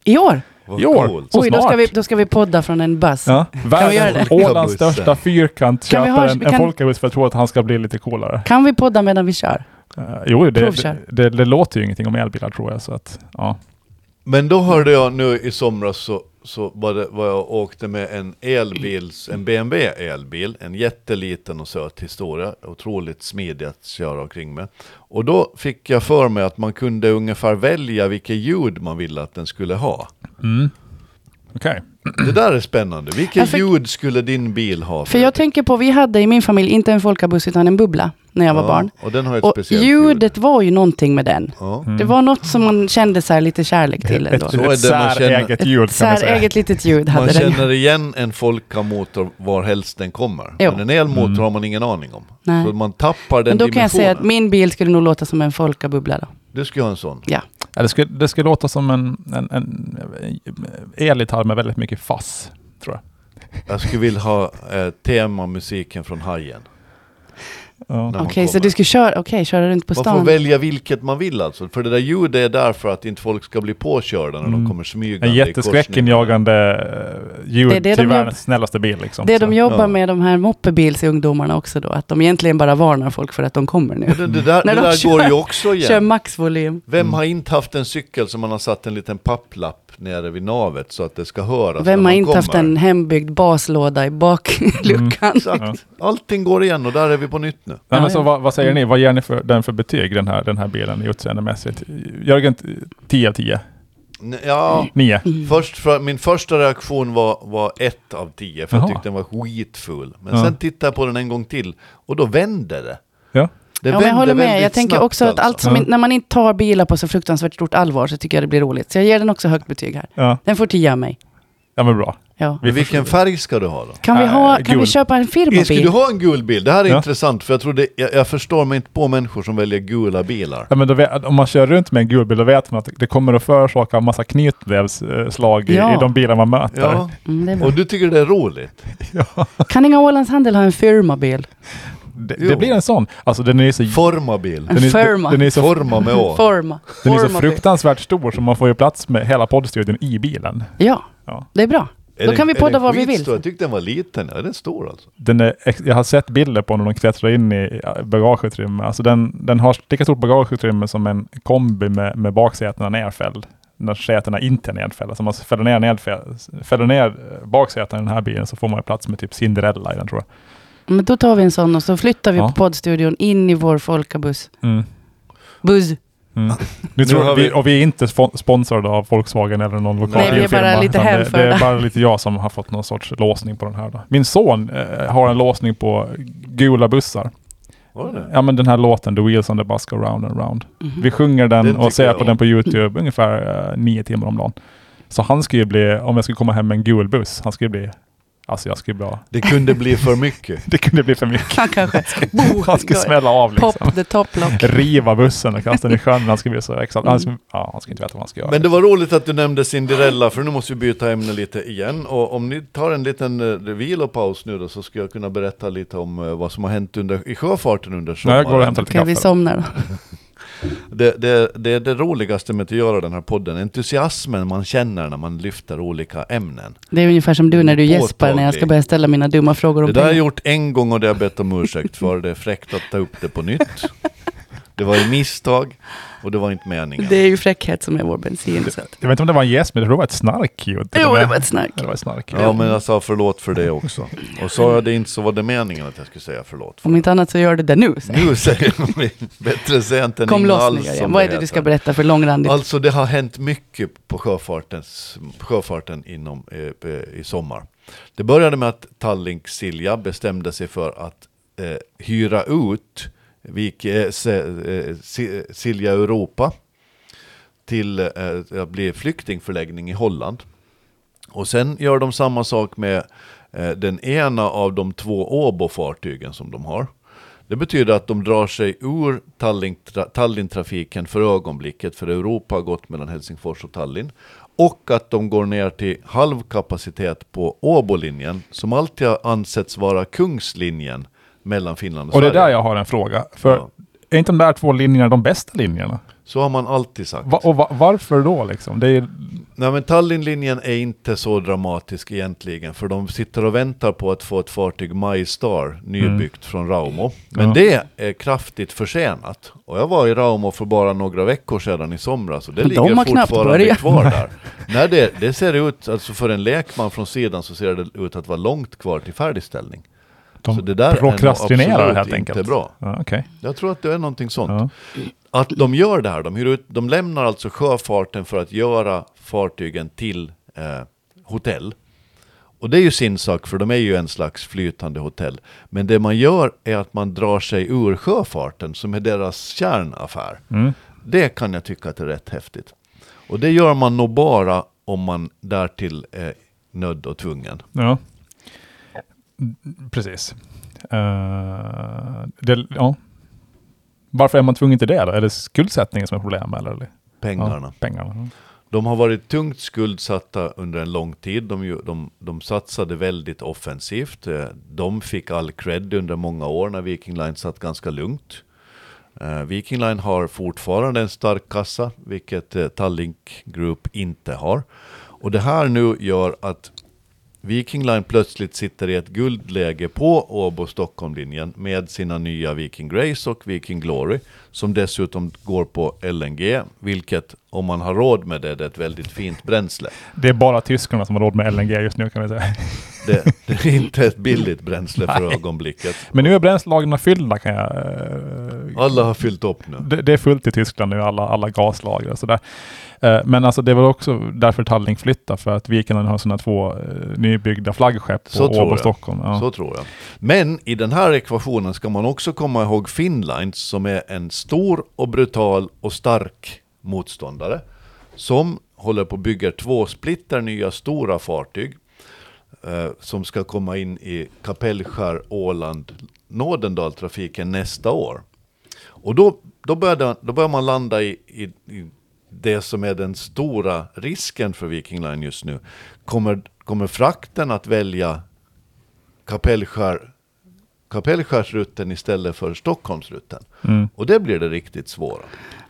Speaker 1: I år?
Speaker 2: Vad
Speaker 3: I år.
Speaker 2: coolt.
Speaker 3: Så
Speaker 1: Oj, då ska,
Speaker 3: snart.
Speaker 1: vi, då ska vi podda från en buss.
Speaker 3: Ja,
Speaker 1: vi göra det?
Speaker 3: världens, Ålands
Speaker 2: Folkabussen.
Speaker 3: största fyrkant
Speaker 1: Kan vi
Speaker 3: köper
Speaker 1: ha-
Speaker 3: en,
Speaker 1: vi
Speaker 3: en
Speaker 1: kan-
Speaker 3: folkabuss för jag tror att han ska bli lite coolare.
Speaker 1: Kan vi podda medan vi kör?
Speaker 3: Eh, jo, det, det,
Speaker 1: Provkör.
Speaker 3: det, det låter ju ingenting om elbilar tror jag. Så att, ja.
Speaker 2: Men då hörde jag nu i somras så, så var, det, var jag och åkte med en elbils, en BMW elbil, en jätteliten och söt historia, otroligt smidig att köra omkring med. Och då fick jag för mig att man kunde ungefär välja vilket ljud man ville att den skulle ha.
Speaker 3: mm. Okej.
Speaker 2: Det där är spännande.
Speaker 1: Jag
Speaker 2: Vilket
Speaker 1: fick-
Speaker 2: ljud skulle din bil ha?
Speaker 1: För jag tänker på, vi hade i min familj inte en folkabuss utan en bubbla när jag var
Speaker 2: Ja,
Speaker 1: barn.
Speaker 2: Och den har ett
Speaker 1: Och
Speaker 2: speciellt ljud.
Speaker 1: ljudet var ju någonting med den.
Speaker 2: Ja.
Speaker 3: Mm.
Speaker 1: Det var något som man kände så här lite kärlek till ändå.
Speaker 3: Ett,
Speaker 2: Så är det man
Speaker 3: ett säräget
Speaker 2: känner.
Speaker 3: ljud
Speaker 1: Så
Speaker 3: kan man
Speaker 1: här
Speaker 3: säga.
Speaker 1: eget litet ljud hade
Speaker 2: Man
Speaker 1: den.
Speaker 2: känner igen en Folka-motor var helst den kommer.
Speaker 1: Jo.
Speaker 2: Men en elmotor
Speaker 3: Mm.
Speaker 2: har man ingen aning om.
Speaker 1: Nej.
Speaker 2: Så man tappar den
Speaker 1: Men då
Speaker 2: dimensionen.
Speaker 1: kan jag säga att min bil skulle nog låta som en folkabubbla då.
Speaker 2: Du ska ju ha en sån.
Speaker 3: Ja, det, ska, det ska låta som en, en, en elgitarr med väldigt mycket fass.
Speaker 2: Jag skulle vilja ha eh, temamusiken från Hajen.
Speaker 3: Ja.
Speaker 2: när man
Speaker 1: Okej, så
Speaker 2: kommer.
Speaker 1: du skulle köra, okej, köra runt på
Speaker 2: Man får
Speaker 1: stan.
Speaker 2: välja vilket man vill alltså. För det där ljudet är där för att inte folk ska bli påkörda när de
Speaker 3: Mm.
Speaker 2: kommer smygande
Speaker 3: En
Speaker 2: i
Speaker 3: jätteskräckenjagande eh, ljud
Speaker 1: Det är det
Speaker 3: till
Speaker 1: de gör.
Speaker 3: världens snällaste bil. Liksom.
Speaker 1: Det
Speaker 3: Så.
Speaker 1: de jobbar
Speaker 2: Ja.
Speaker 1: med, de här moppebilsungdomarna också då, att de egentligen bara varnar folk för att de kommer nu.
Speaker 2: korsningen. Det, det där,
Speaker 1: När
Speaker 2: det
Speaker 1: de
Speaker 2: där
Speaker 1: kör-
Speaker 2: går ju också igen.
Speaker 1: Kör maxvolym.
Speaker 2: Vem
Speaker 3: Mm.
Speaker 2: har inte haft en cykel som man har satt en liten papplapp nere vid navet så att det ska höras när
Speaker 1: Vem har
Speaker 2: man
Speaker 1: inte
Speaker 2: kommer?
Speaker 1: haft en hembyggd baslåda i
Speaker 2: Mm.
Speaker 1: bakluckan?
Speaker 2: Exakt. Allting går igen och där är vi på nytt nu.
Speaker 3: Nej, men
Speaker 1: Ja,
Speaker 3: så
Speaker 1: ja.
Speaker 3: vad, vad säger ni? Vad ger ni för, den för betyg, den här, den här bilen utseendemässigt? Jörgen, t- 10 av 10?
Speaker 2: N- Ja,
Speaker 3: 9?
Speaker 1: Mm.
Speaker 2: först, för, min första reaktion var, var ett av tio, för jag
Speaker 3: Jaha.
Speaker 2: tyckte den var skitful. Men
Speaker 3: Ja.
Speaker 2: sen tittade jag på den en gång till och då vände det. Det
Speaker 3: Ja.
Speaker 1: ja, men jag
Speaker 2: vänder
Speaker 1: håller med.
Speaker 2: väldigt
Speaker 1: Jag tänker
Speaker 2: snabbt alltså.
Speaker 1: också att allt som
Speaker 3: Ja.
Speaker 1: in, när man inte tar bilar på så fruktansvärt stort allvar så tycker jag det blir roligt. Så jag ger den också högt betyg här.
Speaker 3: Ja,
Speaker 1: Den får 10 av mig.
Speaker 3: ja men bra.
Speaker 1: Ja.
Speaker 2: Men vilken färg ska du ha då?
Speaker 1: Kan, vi, ha,
Speaker 3: Äh,
Speaker 1: kan vi
Speaker 3: gul.
Speaker 1: köpa en
Speaker 2: Ska du
Speaker 1: firmabil?
Speaker 2: ha en gul bil? Det här är
Speaker 3: Ja.
Speaker 2: intressant, för jag, tror det, jag, jag förstår mig inte på människor som väljer gula bilar.
Speaker 3: Ja, men då vet, om man kör runt med en gul bil, då vet man att det kommer att förorsaka en massa knytnävsslag i,
Speaker 1: Ja.
Speaker 3: i de bilar man möter.
Speaker 2: Ja,
Speaker 1: Mm, det är bra.
Speaker 2: och du tycker det är roligt?
Speaker 1: Kan inga Ålands Handel ha en firmabil?
Speaker 3: Det,
Speaker 2: Jo.
Speaker 3: det blir en sån. Alltså den är ju så...
Speaker 2: Forma bil.
Speaker 3: Den är,
Speaker 1: Firma.
Speaker 3: Den, den är så,
Speaker 2: Forma med å.
Speaker 1: Forma.
Speaker 3: den är så
Speaker 1: Formabil.
Speaker 3: fruktansvärt stor så man får ju plats med hela poddstudion i bilen.
Speaker 1: Ja,
Speaker 3: Ja.
Speaker 1: det är bra.
Speaker 2: Är
Speaker 1: Då
Speaker 2: den-
Speaker 1: kan vi
Speaker 2: är den
Speaker 1: podda vad vi
Speaker 2: skitstor?
Speaker 1: vill.
Speaker 2: Jag tyckte den var liten. Ja, den är stor alltså.
Speaker 3: Den är, ex- jag har sett bilder på när de klättrar in i bagageutrymme. Alltså den, den har lika stort bagageutrymme som en kombi med, med baksätena nedfälld. När sätena inte är nedfällda. Så om man fäller ner, nedfäll- fäller ner eh, baksätena i den här bilen så får man ju plats med typ Cinderella i den tror
Speaker 1: Men då tar vi en sån och så flyttar vi
Speaker 3: Ja.
Speaker 1: poddstudion in i vår folkabuss.
Speaker 3: jag. Mm.
Speaker 1: Buzz.
Speaker 3: Mm. Nu tror
Speaker 2: har
Speaker 3: vi,
Speaker 2: vi-
Speaker 3: och vi är inte spo- sponsrade av Volkswagen eller någon lokal
Speaker 2: Nej, vi är
Speaker 3: bilfirma,
Speaker 1: bara lite
Speaker 3: utan det, det
Speaker 1: hänförda.
Speaker 3: är bara lite jag som har fått någon sorts låsning på den här. Då. Min son eh, har en låsning på gula bussar.
Speaker 2: Var det?
Speaker 3: Ja men den här låten, The Wheels on the Bus Go Round and Round.
Speaker 1: Mhm.
Speaker 3: Vi sjunger den,
Speaker 2: Den tycker
Speaker 3: och ser
Speaker 2: jag
Speaker 3: på
Speaker 2: om.
Speaker 3: den på YouTube ungefär eh, nio timmar om dagen. Så han skulle ju bli, om jag skulle komma hem med en gul buss, han skulle bli, alltså jag skulle bli,
Speaker 2: Det kunde bli för mycket.
Speaker 3: det kunde bli för mycket.
Speaker 1: Han kanske... Bo,
Speaker 3: Han skulle smälla av liksom.
Speaker 1: Pop the top lock.
Speaker 3: Riva bussen och kasta den i sjön. Han skulle bli så exalterad. Han, skulle- ja, han skulle inte veta vad han ska göra.
Speaker 2: Men det var roligt att du nämnde Cinderella, för nu måste vi byta ämne lite igen. Och om ni tar en liten eh, vilopaus nu då, så ska jag kunna berätta lite om eh, vad som har hänt under, i sjöfarten under
Speaker 3: Nej,
Speaker 2: sommaren.
Speaker 3: jag går och hämtar lite
Speaker 1: Okej,
Speaker 3: kaffe.
Speaker 1: vi
Speaker 3: då.
Speaker 1: somnar då.
Speaker 2: Det, det, det är det roligaste med att göra den här podden, entusiasmen man känner när man lyfter olika ämnen.
Speaker 1: Det är ungefär som du när du
Speaker 2: Påtaglig.
Speaker 1: gäspar när jag ska börja ställa mina dumma frågor om
Speaker 2: Det där har jag
Speaker 1: pengar.
Speaker 2: gjort en gång och det har jag bett om ursäkt för, det är fräckt att ta upp det på nytt. Det var ett misstag och det var inte meningen.
Speaker 1: Det är ju fräckhet som är vår bensin. Så. att-
Speaker 3: Jag vet inte om det var en gäst, men jag tror det var ett snarkljud. till
Speaker 1: Jo,
Speaker 3: och med.
Speaker 1: det var ett snark.
Speaker 3: Det var ett snark.
Speaker 2: Ja, men jag sa förlåt för det också. Och sa jag det inte så var det meningen att jag skulle säga förlåt.
Speaker 1: Om inte annat så gör det det nu. säger jag.
Speaker 2: Nu säger vi bättre sent än
Speaker 1: Kom
Speaker 2: inga
Speaker 1: loss
Speaker 2: alls.
Speaker 1: nu Jörgen.
Speaker 2: som
Speaker 1: Vad är
Speaker 2: det
Speaker 1: det du ska
Speaker 2: heter.
Speaker 1: berätta för långrandigt?
Speaker 2: Alltså det har hänt mycket på sjöfartens, sjöfarten inom, eh, eh, i sommar. Det började med att Tallink Silja bestämde sig för att eh, hyra ut Vik, eh, se, eh, Si- Silja Europa till eh, att bli flyktingförläggning i Holland. Och sen gör de samma sak med eh, den ena av de två Åbo-fartygen som de har. Det betyder att de drar sig ur Tallinn-tra- Tallinn-trafiken för ögonblicket, för Europa har gått mellan Helsingfors och Tallinn. Och att de går ner till halv kapacitet på Åbolinjen, som alltid har ansetts vara kungslinjen mellan Finland och,
Speaker 3: Och det är
Speaker 2: Sverige.
Speaker 3: där jag har en fråga. För
Speaker 2: Ja.
Speaker 3: är inte de där två linjerna de bästa linjerna?
Speaker 2: Så har man alltid sagt.
Speaker 3: Va, och va, varför då liksom? Det är,
Speaker 2: Nej, men Tallinnlinjen är inte så dramatisk egentligen, för de sitter och väntar på att få ett fartyg MyStar
Speaker 1: Mm.
Speaker 2: nybyggt från Raumo. Men
Speaker 3: Ja.
Speaker 2: det är kraftigt försenat. Och jag var i Raumo för bara några veckor sedan i somras och det
Speaker 1: De
Speaker 2: ligger
Speaker 1: har knappt
Speaker 2: fortfarande
Speaker 1: börjat.
Speaker 2: kvar där. Nej, det, det ser ut, alltså för en lekman från sidan så ser det ut att vara långt kvar till färdigställning.
Speaker 3: de
Speaker 2: så det där är nog
Speaker 3: prokrastinerar
Speaker 2: absolut
Speaker 3: helt
Speaker 2: inte
Speaker 3: enkelt.
Speaker 2: bra.
Speaker 3: Ja, okej.
Speaker 2: Jag tror att det är någonting sånt
Speaker 3: ja.
Speaker 2: att de gör det här. De, hyr ut, de lämnar alltså sjöfarten för att göra fartygen till eh, hotell. Och det är ju sin sak, för de är ju en slags flytande hotell. Men det man gör är att man drar sig ur sjöfarten, som är deras kärnaffär.
Speaker 3: Mm.
Speaker 2: Det kan jag tycka att är rätt häftigt. Och det gör man nog bara om man därtill är nödd och tvungen.
Speaker 3: ja. Mm, Precis. Eh, det, ja. Varför är man tvungen till det då? Är det skuldsättningen som är problemet? Eller?
Speaker 2: Pengarna.
Speaker 3: Ja, pengarna.
Speaker 2: De har varit tungt skuldsatta under en lång tid. De, ju- de, de satsade väldigt offensivt. Eh, De fick all cred under många år när Viking Line satt ganska lugnt. Eh, Viking Line har fortfarande en stark kassa, vilket eh, Tallink Group inte har. Och det här nu gör att Viking Line plötsligt sitter i ett guldläge på Åbo-Stockholm-linjen med sina nya Viking Grace och Viking Glory, som dessutom går på LNG, vilket om man har råd med det, det är ett väldigt fint bränsle.
Speaker 3: Det är bara tyskarna som har råd med LNG just nu kan vi säga.
Speaker 2: Det, det är inte ett billigt bränsle för ögonblicket.
Speaker 3: Men nu är bränslelagren fyllda kan jag... eh,
Speaker 2: Alla har fyllt upp nu.
Speaker 3: det, det är fullt i Tyskland nu, alla, alla gaslager och sådär. Eh, Men alltså det var också därför Tallink flyttar, för att Vikingen har sina två eh, nybyggda flaggskepp på
Speaker 2: Så tror
Speaker 3: Åbo
Speaker 2: jag.
Speaker 3: och Stockholm. Ja.
Speaker 2: Så tror jag. Men i den här ekvationen ska man också komma ihåg Finland som är en stor och brutal och stark motståndare som håller på att bygga två splitter nya stora fartyg eh, som ska komma in i Kapellskär, Åland, Nådendaltrafiken nästa år. Och då, då, började, då börjar man landa i, i, i det som är den stora risken för Viking Line just nu. Kommer, kommer frakten att välja Kapellskär, Kapellskärsrutten istället för Stockholmsrutten?
Speaker 3: Mm.
Speaker 2: Och det blir det riktigt svåra.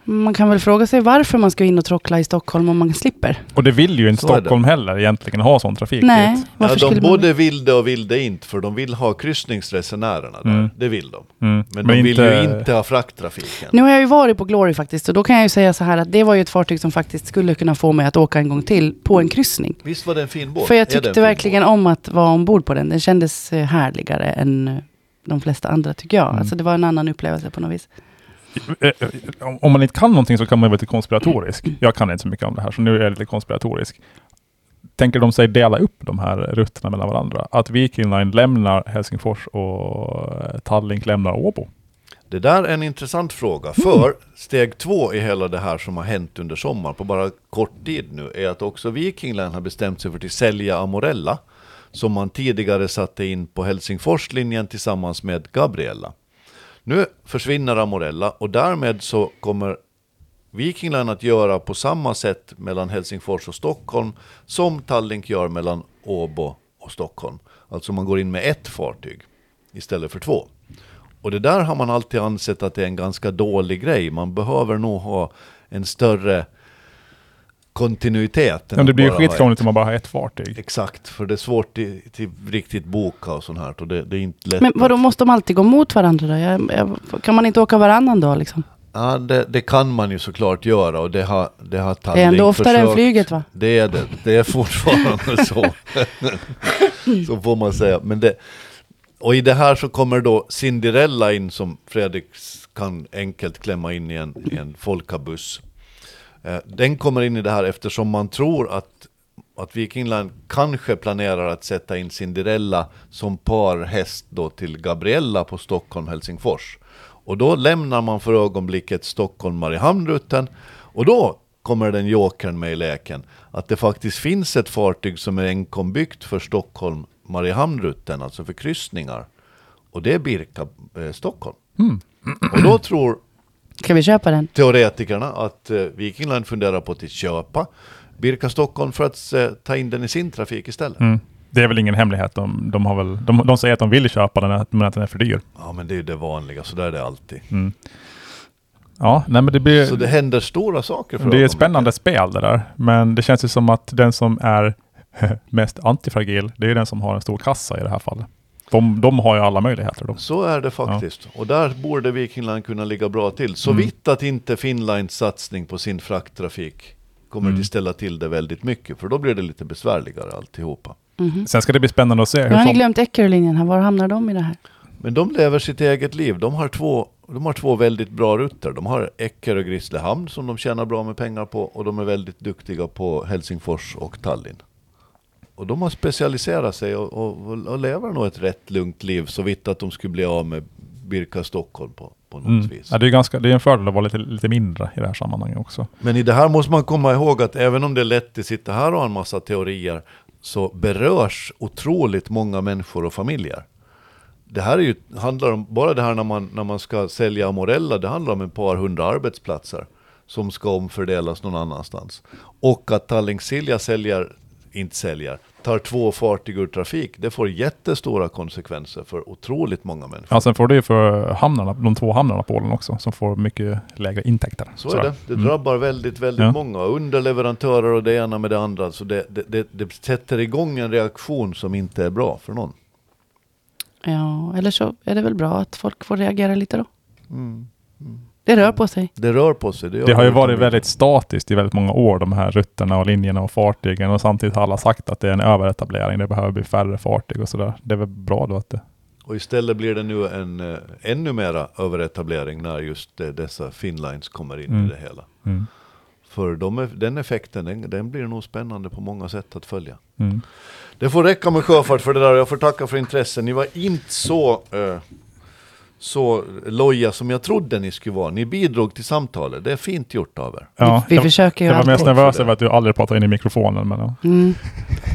Speaker 1: Man kan väl fråga sig varför man ska in och trockla i Stockholm om man slipper.
Speaker 3: Och det vill ju inte
Speaker 2: Så är det.
Speaker 3: Stockholm heller egentligen ha sån trafik.
Speaker 1: Nej,
Speaker 3: dit.
Speaker 1: varför
Speaker 2: ja, de
Speaker 1: skulle man...
Speaker 2: både vill det och vill det inte, för de vill ha kryssningsresenärerna där.
Speaker 3: Mm.
Speaker 2: Det vill de.
Speaker 3: Mm.
Speaker 2: Men, de vill
Speaker 3: inte-
Speaker 2: ju inte ha frakttrafiken.
Speaker 1: Nu har jag ju varit på Glory faktiskt och då kan jag ju säga så här att det var ju ett fartyg som faktiskt skulle kunna få mig att åka en gång till på en kryssning.
Speaker 2: Visst var det en fin båt?
Speaker 1: För
Speaker 2: Är
Speaker 1: jag
Speaker 2: det en
Speaker 1: tyckte
Speaker 2: fin
Speaker 1: verkligen
Speaker 2: båt?
Speaker 1: om att vara ombord på den. Den kändes eh, härligare än eh, de flesta andra tycker jag.
Speaker 3: Mm.
Speaker 1: Alltså det var en annan upplevelse på något vis.
Speaker 3: Eh, eh, om- Om man inte kan någonting så kan man vara lite konspiratorisk. Jag kan inte så mycket om det här, så nu är jag lite konspiratorisk. Tänker de sig dela upp de här rutterna mellan varandra? Att Viking Line lämnar Helsingfors och eh, Tallink lämnar Åbo?
Speaker 2: Det där är en intressant
Speaker 1: Mm.
Speaker 2: fråga, för steg två i hela det här som har hänt under sommaren, på bara kort tid nu, är att också Viking Line har bestämt sig för att sälja Amorella, som man tidigare satte in på Helsingforslinjen tillsammans med Gabriella. Nu försvinner Amorella och därmed så kommer Viking Line att göra på samma sätt mellan Helsingfors och Stockholm som Tallink gör mellan Åbo och Stockholm. Alltså man går in med ett fartyg istället för två. Och det där har man alltid ansett att det är en ganska dålig grej. Man behöver nog ha en större kontinuitet. än
Speaker 3: Ja, det
Speaker 2: att
Speaker 3: blir ju
Speaker 2: bara ha ett.
Speaker 3: skitkrångligt om man bara har ett fartyg.
Speaker 2: Exakt, för det är svårt i, till riktigt boka och sånt här. Och det, det är inte lätt.
Speaker 1: Men vadå, måste de alltid gå mot varandra då? Jag, jag, kan man inte åka varannan dag liksom?
Speaker 2: Ja, det, det kan man ju såklart göra och det har, det har
Speaker 1: Det är
Speaker 2: Tallink
Speaker 1: ändå oftare
Speaker 2: försökt.
Speaker 1: än flyget va?
Speaker 2: Det är det. Det är fortfarande så. så får man säga. Men det, och i det här så kommer då Cinderella in som Fredrik s- kan enkelt klämma in i en, i en folkabuss. Eh, Den kommer in i det här eftersom man tror att, att Viking Line kanske planerar att sätta in Cinderella som parhäst då till Gabriella på Stockholm-Helsingfors. Och då lämnar man för ögonblicket Stockholm-Mariehamn-rutten och då kommer den jokern med i leken. Att det faktiskt finns ett fartyg som är enkombyggt för Stockholm-Mariehamn-rutten, alltså för kryssningar. Och det är Birka, eh, Stockholm. Och då tror
Speaker 1: Ska vi köpa den?
Speaker 2: teoretikerna att eh, Viking Line funderar på att köpa Birka Stockholm för att eh, ta in den i sin trafik istället.
Speaker 3: Mm. Det är väl ingen hemlighet. De, de, har väl, de, de säger att de vill köpa den, men att den är för dyr.
Speaker 2: Ja, men det är ju det vanliga, så där är det alltid.
Speaker 3: Ja, nej men det
Speaker 2: Så det
Speaker 3: blir...
Speaker 2: händer stora saker för
Speaker 3: Det är ett
Speaker 2: ögonblicket.
Speaker 3: spännande spel det där, men det känns ju som att den som är mest antifragil, det är den som har en stor kassa i det här fallet. De, de har ju alla möjligheter. De.
Speaker 2: Så är det faktiskt. Och där borde Viking Line kunna ligga bra till. Så
Speaker 3: Mm.
Speaker 2: vitt att inte Finlines satsning på sin frakttrafik kommer
Speaker 3: Mm.
Speaker 2: att ställa till det väldigt mycket, för då blir det lite besvärligare alltihopa.
Speaker 1: Mhm.
Speaker 3: Sen ska det bli spännande att se
Speaker 1: Nu
Speaker 3: hur
Speaker 1: har ni
Speaker 3: som,
Speaker 1: glömt Eckerölinjen här, var hamnar de i det här?
Speaker 2: Men de lever sitt eget liv. De har två, de har två väldigt bra rutter. De har Eckerö och Grisslehamn som de tjänar bra med pengar på och de är väldigt duktiga på Helsingfors och Tallinn. Och de har specialiserat sig och, och, och lever nog ett rätt lugnt liv så vitt att de skulle bli av med Birka Stockholm på, på något
Speaker 3: mm.
Speaker 2: vis.
Speaker 3: ja, det, är ganska, det är en fördel att vara lite, lite mindre i det här sammanhanget också.
Speaker 2: Men i det här måste man komma ihåg att även om det är lätt att sitta här och ha en massa teorier så berörs otroligt många människor och familjer. Det här är ju, handlar om, bara det här när man, när man ska sälja Amorella, det handlar om ett par hundra arbetsplatser som ska omfördelas någon annanstans. Och att Tallink Silja säljer, inte säljer, tar två fartyg ur trafik, det får jättestora konsekvenser för otroligt många människor.
Speaker 3: Ja, sen får det ju för hamnarna, de två hamnarna på Åland också, som får mycket lägre intäkter.
Speaker 2: Så
Speaker 3: Sådär. Mm.
Speaker 2: är det. Det drabbar väldigt, väldigt
Speaker 3: Ja.
Speaker 2: många. Underleverantörer och det ena med det andra. Så det, det, det, det sätter igång en reaktion som inte är bra för någon. Mm,
Speaker 1: Ja, eller så är det väl bra att folk får reagera lite då. Det rör på sig.
Speaker 2: Det rör på sig. gör
Speaker 3: Det har ju
Speaker 2: utan
Speaker 3: varit
Speaker 2: bil.
Speaker 3: väldigt statiskt i väldigt många år, de här rutterna och linjerna och fartygen. Och samtidigt har alla sagt att det är en överetablering, det behöver bli färre fartyg och sådär. Det är väl bra då att det...
Speaker 2: Och istället blir det nu en eh, ännu mera överetablering när just eh, dessa finlines kommer in i
Speaker 3: Mm.
Speaker 2: det hela.
Speaker 3: Mm.
Speaker 2: För de, eff- den effekten, den, den blir nog spännande på många sätt att följa.
Speaker 3: Mm.
Speaker 2: Det får räcka med sjöfart för det där och jag får tacka för intressen. Ni var inte så, eh, så loja som jag trodde ni skulle vara. Ni bidrog till samtalet. Det är fint gjort av er.
Speaker 3: Ja,
Speaker 1: vi vi
Speaker 3: jag,
Speaker 1: försöker ju
Speaker 3: jag var
Speaker 1: alltid.
Speaker 3: mest
Speaker 2: allt
Speaker 3: nervös
Speaker 2: för det.
Speaker 3: över att du aldrig pratar in i mikrofonen. Men, ja.
Speaker 1: Mm.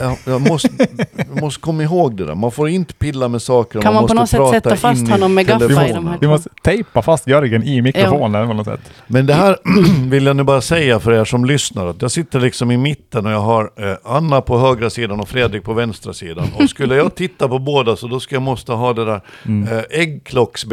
Speaker 2: Jag, jag, måste, jag måste komma ihåg det där. Man får inte pilla med saker.
Speaker 1: Kan man på
Speaker 2: måste
Speaker 1: något sätt sätta
Speaker 2: prata
Speaker 1: fast
Speaker 2: in i
Speaker 1: honom med gaffar i de här
Speaker 2: telefonen.
Speaker 3: Vi måste tejpa fast Jörgen i mikrofonen på något sätt.
Speaker 2: Men det här vill jag nu bara säga för er som lyssnar. Att jag sitter liksom i mitten och jag har eh, Anna på högra sidan och Fredrik på vänstra sidan. Och skulle jag titta på båda så då ska jag måste ha det där eh, äggklocksbeteende.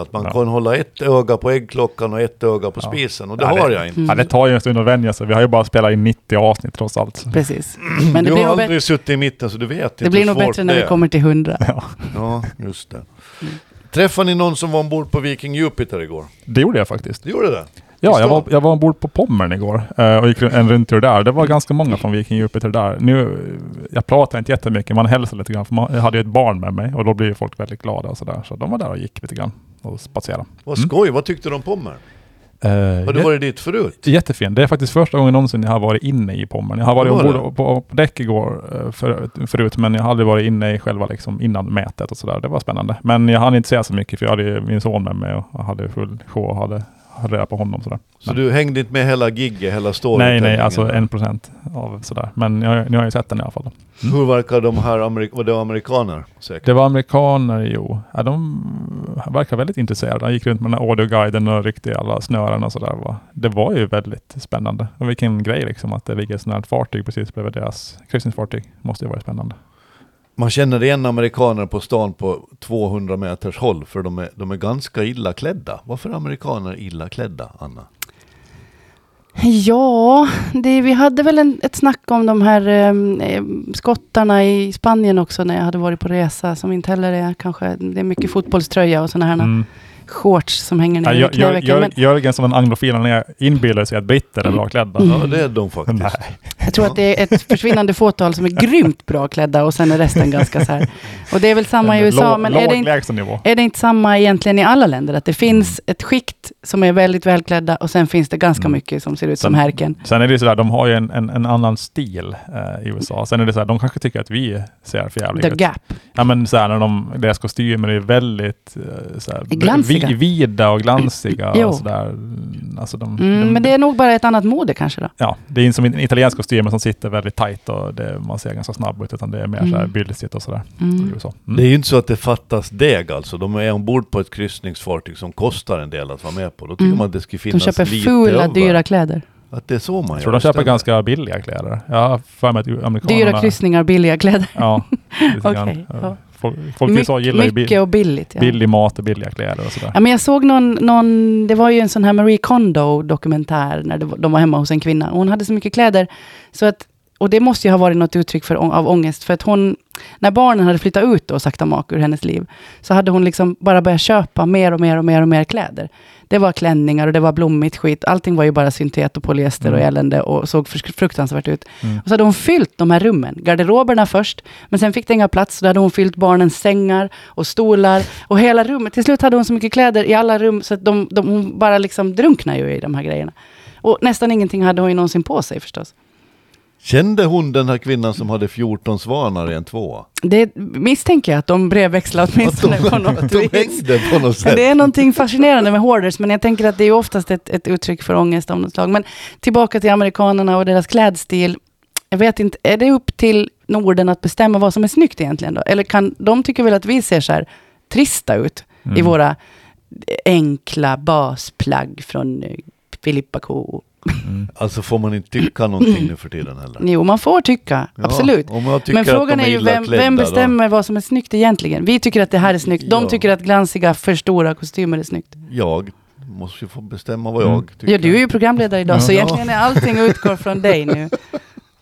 Speaker 2: Att man
Speaker 3: Mm. Ja.
Speaker 2: kan hålla ett öga på äggklockan och ett öga på spisen. Och det har jag inte.
Speaker 3: Ja, det tar ju en stund att vänja sig. Vi har ju bara spelat in 90 avsnitt trots allt.
Speaker 1: Precis. Men det
Speaker 2: du
Speaker 1: blir
Speaker 2: har
Speaker 1: nog,
Speaker 2: aldrig
Speaker 1: bättre,
Speaker 2: suttit i mitten så du vet inte
Speaker 1: det blir
Speaker 2: hur
Speaker 1: nog
Speaker 2: svårt
Speaker 1: bättre när
Speaker 2: det
Speaker 1: vi Mm.
Speaker 2: är.
Speaker 1: kommer till hundra.
Speaker 2: Ja, just det. Träffade ni någon som var ombord på Viking Jupiter igår?
Speaker 3: Det gjorde jag faktiskt.
Speaker 2: Du gjorde det?
Speaker 3: Ja, jag
Speaker 2: stan?
Speaker 3: var, jag var ombord på Pommern igår eh, och gick ru- en rundtur där. Det var ganska många från Viking Jupiter där. Nu, eh, jag pratar inte jättemycket, man hälsar lite grann. För man, jag hade ju ett barn med mig och då blir ju folk väldigt glada och sådär. Så de var där och gick lite grann och spatserade.
Speaker 2: Vad skoj, vad tyckte de om er?
Speaker 3: Eh,
Speaker 2: Har du varit dit förut?
Speaker 3: Jättefin. Det är faktiskt första gången någonsin jag har varit inne i Pommern. Jag har varit
Speaker 2: Vad var
Speaker 3: ombord på, på däck igår eh, för, förut, men jag har aldrig varit inne i själva liksom innan mätet och sådär. Det var spännande. Men jag hann inte säga så mycket för jag hade ju min son med mig och jag hade full sjå och hade hade reda på honom sådär.
Speaker 2: Så du hängde inte med hela gigget, hela storyn?
Speaker 3: Nej, nej, alltså en procent av sådär. Men jag, nu har jag ju sett den i alla fall.
Speaker 2: Mm. Hur verkar de här, amerik- var det amerikaner? Säkert.
Speaker 3: Det var amerikaner, jo. Ja, de verkar väldigt intresserade. De gick runt med den här audioguiden och ryckte i alla snören och sådär. va. Det var ju väldigt spännande. Och vilken grej liksom att det ligger ett sånt här fartyg precis bredvid deras kryssningsfartyg. Måste ju vara spännande.
Speaker 2: Man känner igen amerikaner på stan på 200 meters håll, för de är, de är ganska illa klädda. Varför är amerikaner illa klädda, Anna?
Speaker 1: Ja, det, vi hade väl en, ett snack om de här em, em, skottarna i Spanien också när jag hade varit på resa, som inte heller är kanske, det är mycket fotbollströja och sådana här
Speaker 3: Mm.
Speaker 1: shorts som hänger
Speaker 3: Ja,
Speaker 1: ner i
Speaker 3: Jör- Jör-
Speaker 1: knävecken. Men
Speaker 3: Jör- Jörgen som en anglofil, han är- inbillar sig att britter
Speaker 1: Mm.
Speaker 3: är bra klädda.
Speaker 2: Ja, det är de faktiskt.
Speaker 1: jag tror att det är ett försvinnande fåtal som är grymt bra klädda och sen är resten ganska så här. Och det är väl samma i USA,
Speaker 3: Låg-
Speaker 1: men är det,
Speaker 3: Låg
Speaker 1: inte,
Speaker 3: lägstanivå.
Speaker 1: är det inte samma egentligen i alla länder? Att det finns ett skikt som är väldigt välklädda och sen finns det ganska
Speaker 3: Mm.
Speaker 1: mycket som ser ut
Speaker 3: Sen-
Speaker 1: som härken.
Speaker 3: Sen är det ju sådär, de har ju en, en, en annan stil eh, i USA. Sen är det sådär, de kanske tycker att vi ser för
Speaker 1: The
Speaker 3: jävliga ut.
Speaker 1: gap.
Speaker 3: Ja men såhär när de, deras kostymer är väldigt eh, såhär,
Speaker 1: Glansiga.
Speaker 3: vi- vida och glansiga
Speaker 1: Jo.
Speaker 3: och sådär. Mm, Alltså de,
Speaker 1: Mm,
Speaker 3: de,
Speaker 1: men det är nog bara ett annat mode kanske då.
Speaker 3: Ja, det är inte som en italiensk kostym men som sitter väldigt tajt och det, man ser ganska snabb ut utan det är mer
Speaker 1: Mm.
Speaker 3: såhär bylsigt och sådär.
Speaker 1: Mm.
Speaker 3: i USA.
Speaker 2: Det är
Speaker 3: Mm.
Speaker 2: ju inte så att det fattas deg alltså. De är ombord på ett kryssningsfartyg som kostar en del att vara med på. Då tycker
Speaker 1: Mm.
Speaker 2: man att det ska
Speaker 1: De
Speaker 2: finnas
Speaker 1: köper
Speaker 2: lite
Speaker 1: fula,
Speaker 2: över.
Speaker 1: dyra kläder.
Speaker 2: Att det är så man
Speaker 3: Jag
Speaker 2: gör.
Speaker 3: tror de köper
Speaker 2: istället.
Speaker 3: ganska billiga kläder. Jag har för mig att amerikanerna...
Speaker 1: Dyra kryssningar, billiga kläder.
Speaker 3: Ja, lite
Speaker 1: Okej,
Speaker 3: grann.
Speaker 1: ja.
Speaker 3: Folk, folk i USA gillar ju
Speaker 1: mycket
Speaker 3: bi-
Speaker 1: och billigt. Ja.
Speaker 3: billig mat och billiga kläder och sådär.
Speaker 1: Ja, men jag såg någon, någon, det var ju en sån här Marie Kondo-dokumentär när det, var- de var hemma hos en kvinna. Och hon hade så mycket kläder. Så att, och det måste ju ha varit något uttryck för, ång- av ångest. För att hon, när barnen hade flyttat ut och sakta mak ur hennes liv, så hade hon liksom bara börjat köpa mer och mer och mer och mer kläder. Det var klänningar och det var blommigt skit. Allting var ju bara syntet och polyester och
Speaker 3: Mm.
Speaker 1: elände och såg frus- fruktansvärt ut.
Speaker 3: Mm.
Speaker 1: Och så hade hon fyllt de här rummen, garderoberna först, men sen fick det inga plats, så då hade hon fyllt barnens sängar och stolar och hela rummet. Till slut hade hon så mycket kläder i alla rum, så att de, de, hon bara liksom drunknade ju i de här grejerna. Och nästan ingenting hade hon ju någonsin på sig förstås.
Speaker 2: Kände hon den här kvinnan som hade 14 svanar i en tvåa?
Speaker 1: Det misstänker jag att de brevväxlade
Speaker 2: Att de,
Speaker 1: åtminstone på något
Speaker 2: de
Speaker 1: vis.
Speaker 2: hängde på något
Speaker 1: Men
Speaker 2: sätt.
Speaker 1: det är någonting fascinerande med hoarders, men jag tänker att det är ju oftast ett, ett uttryck för ångest av något slag. Men tillbaka till amerikanerna och deras klädstil. Jag vet inte, är det upp till Norden att bestämma vad som är snyggt egentligen då? Eller kan, de tycker väl att vi ser så här trista ut i
Speaker 3: Mm.
Speaker 1: våra enkla basplagg från eh, Filippa K.
Speaker 3: Mm.
Speaker 2: Alltså får man inte tycka någonting nu för tiden heller?
Speaker 1: Jo, man får tycka,
Speaker 2: Ja,
Speaker 1: absolut.
Speaker 2: Om jag tycker
Speaker 1: Men frågan
Speaker 2: att de
Speaker 1: är ju
Speaker 2: illa
Speaker 1: vem,
Speaker 2: klädda
Speaker 1: vem
Speaker 2: då.
Speaker 1: bestämmer vad som är snyggt egentligen? Vi tycker att det här är snyggt. De
Speaker 2: Ja.
Speaker 1: tycker att glansiga, för stora kostymer är snyggt.
Speaker 2: Jag måste ju få bestämma vad
Speaker 3: Mm.
Speaker 2: jag tycker.
Speaker 1: Ja, du är ju programledare idag,
Speaker 3: Ja.
Speaker 1: så
Speaker 2: Ja.
Speaker 1: egentligen är allting utgår från dig nu.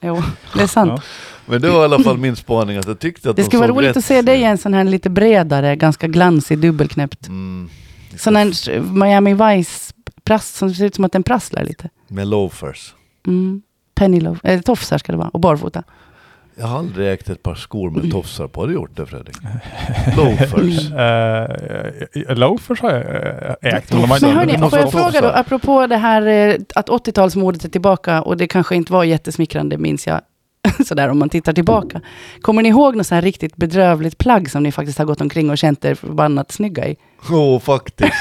Speaker 1: Jo, det är sant.
Speaker 3: Ja.
Speaker 2: Men det var i alla fall min spaning att jag tyckte att
Speaker 1: Det
Speaker 2: de
Speaker 1: skulle vara
Speaker 2: såg
Speaker 1: roligt
Speaker 2: rätt.
Speaker 1: att se dig i en sån här lite bredare, ganska glansig dubbelknäppt.
Speaker 2: Mm.
Speaker 1: Sån här Miami Vice prass som ser ut som att den prasslar lite.
Speaker 2: Med loafers.
Speaker 1: Mm. Pennyloaf, eller tofsar ska det vara, och barfota.
Speaker 2: Jag har aldrig ägt ett par skor med tofsar på. Har du gjort det Fredrik? Loafers.
Speaker 1: Mm.
Speaker 3: Uh, loafers har jag eh, ägt. men de har inte-
Speaker 1: Men hörni,
Speaker 2: det måste
Speaker 1: får jag
Speaker 2: vara
Speaker 1: fråga då,
Speaker 2: tofsar.
Speaker 1: apropå det här eh, att 80-talsmodet är tillbaka och det kanske inte var jättesmickrande, minns jag, sådär om man tittar tillbaka. Kommer ni ihåg något så här riktigt bedrövligt plagg som ni faktiskt har gått omkring och känt er förbannat snygga i?
Speaker 2: Åh, faktiskt.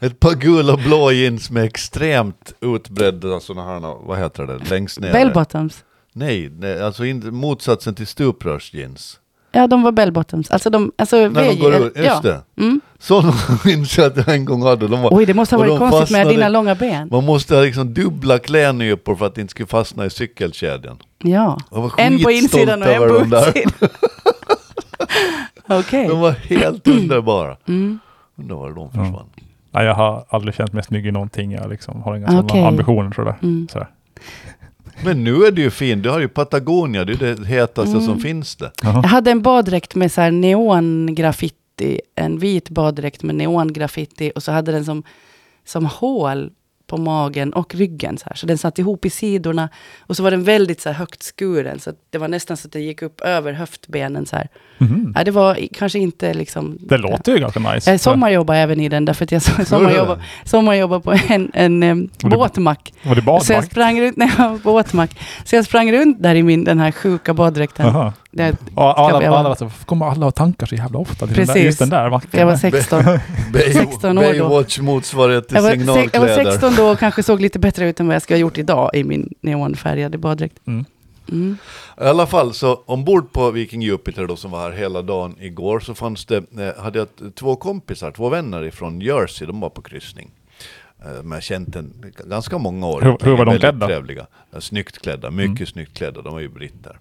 Speaker 2: Ett par gula och blå jeans med extremt utbredda sådana här, vad heter det, längst ner?
Speaker 1: Bell bottoms.
Speaker 2: Nej, nej, alltså inte, motsatsen till stuprörsjeans.
Speaker 1: Ja, de var bell bottoms. Alltså de, alltså
Speaker 2: När de
Speaker 1: VJ,
Speaker 2: går ut, just
Speaker 1: ja.
Speaker 2: det.
Speaker 1: Mm.
Speaker 2: Sådana minns jag att jag en gång hade. De var,
Speaker 1: Oj, det måste ha
Speaker 2: och
Speaker 1: varit
Speaker 2: de
Speaker 1: konstigt med
Speaker 2: fastnade-
Speaker 1: dina långa ben.
Speaker 2: Man måste ha liksom dubbla klädnypor för att det inte skulle fastna i cykelkedjan.
Speaker 1: Ja.
Speaker 2: Jag var
Speaker 1: En på
Speaker 2: skitstolt
Speaker 1: insidan och en
Speaker 2: över
Speaker 1: på
Speaker 2: de där.
Speaker 1: utsidan. Okej.
Speaker 2: De var helt underbara.
Speaker 1: Mm.
Speaker 2: Undrar var de
Speaker 3: Ja.
Speaker 2: försvann.
Speaker 3: Nej, jag har aldrig känt mig snygg i någonting. Jag liksom har inga sådana
Speaker 1: Okej.
Speaker 3: ambitioner tror jag.
Speaker 1: Mm.
Speaker 3: Sådär.
Speaker 2: Men nu är det ju fint. Du har ju Patagonia, det är det hetaste
Speaker 1: Mm.
Speaker 2: som finns det.
Speaker 3: Jaha.
Speaker 1: Jag hade en baddräkt med så här neongraffiti, en vit baddräkt med neongraffiti och så hade den som, som hål på magen och ryggen så här. Så den satt ihop i sidorna och så var den väldigt så här högt skuren så att det var nästan så att den gick upp över höftbenen så här.
Speaker 3: Mhm.
Speaker 1: Ja, Eh, det var i- kanske inte liksom...
Speaker 3: Det låter ju ganska nice.
Speaker 1: Jag sommarjobbade även i den därför att jag sommarjobbade, sommarjobbade på en, en em,
Speaker 3: Och du-
Speaker 1: båtmack.
Speaker 3: Var det
Speaker 1: Så jag
Speaker 3: badvakt?
Speaker 1: sprang runt, när jag var på åtmack. Så jag sprang runt där i min, den här sjuka baddräkten.
Speaker 3: Jaha.
Speaker 1: Jag,
Speaker 3: Ja, alla,
Speaker 1: Ska jag-
Speaker 3: alla, alla, varför kommer alla ha tankar så jävla ofta? Till Den där,
Speaker 1: Precis.
Speaker 3: just den där macken.
Speaker 1: jag var 16.
Speaker 2: Bay,
Speaker 1: 16 år då.
Speaker 2: Baywatch motsvarighet till
Speaker 1: Jag var, se- jag var
Speaker 2: signalkläder.
Speaker 1: 16 då och kanske såg lite bättre ut än vad jag skulle ha gjort idag i min neonfärgade baddräkt.
Speaker 3: Mm.
Speaker 1: Mm.
Speaker 2: I alla fall, så ombord på Viking Jupiter då som var här hela dagen igår så fanns det, eh, hade jag t- två kompisar, två vänner ifrån Jersey, de var på kryssning. Eh, Men jag känt en g- ganska många år.
Speaker 3: Hur- hur var de
Speaker 2: Väldigt
Speaker 3: klädda?
Speaker 2: Trevliga. Eh, Snyggt klädda, mycket
Speaker 3: Mm.
Speaker 2: snyggt klädda, de var ju britter.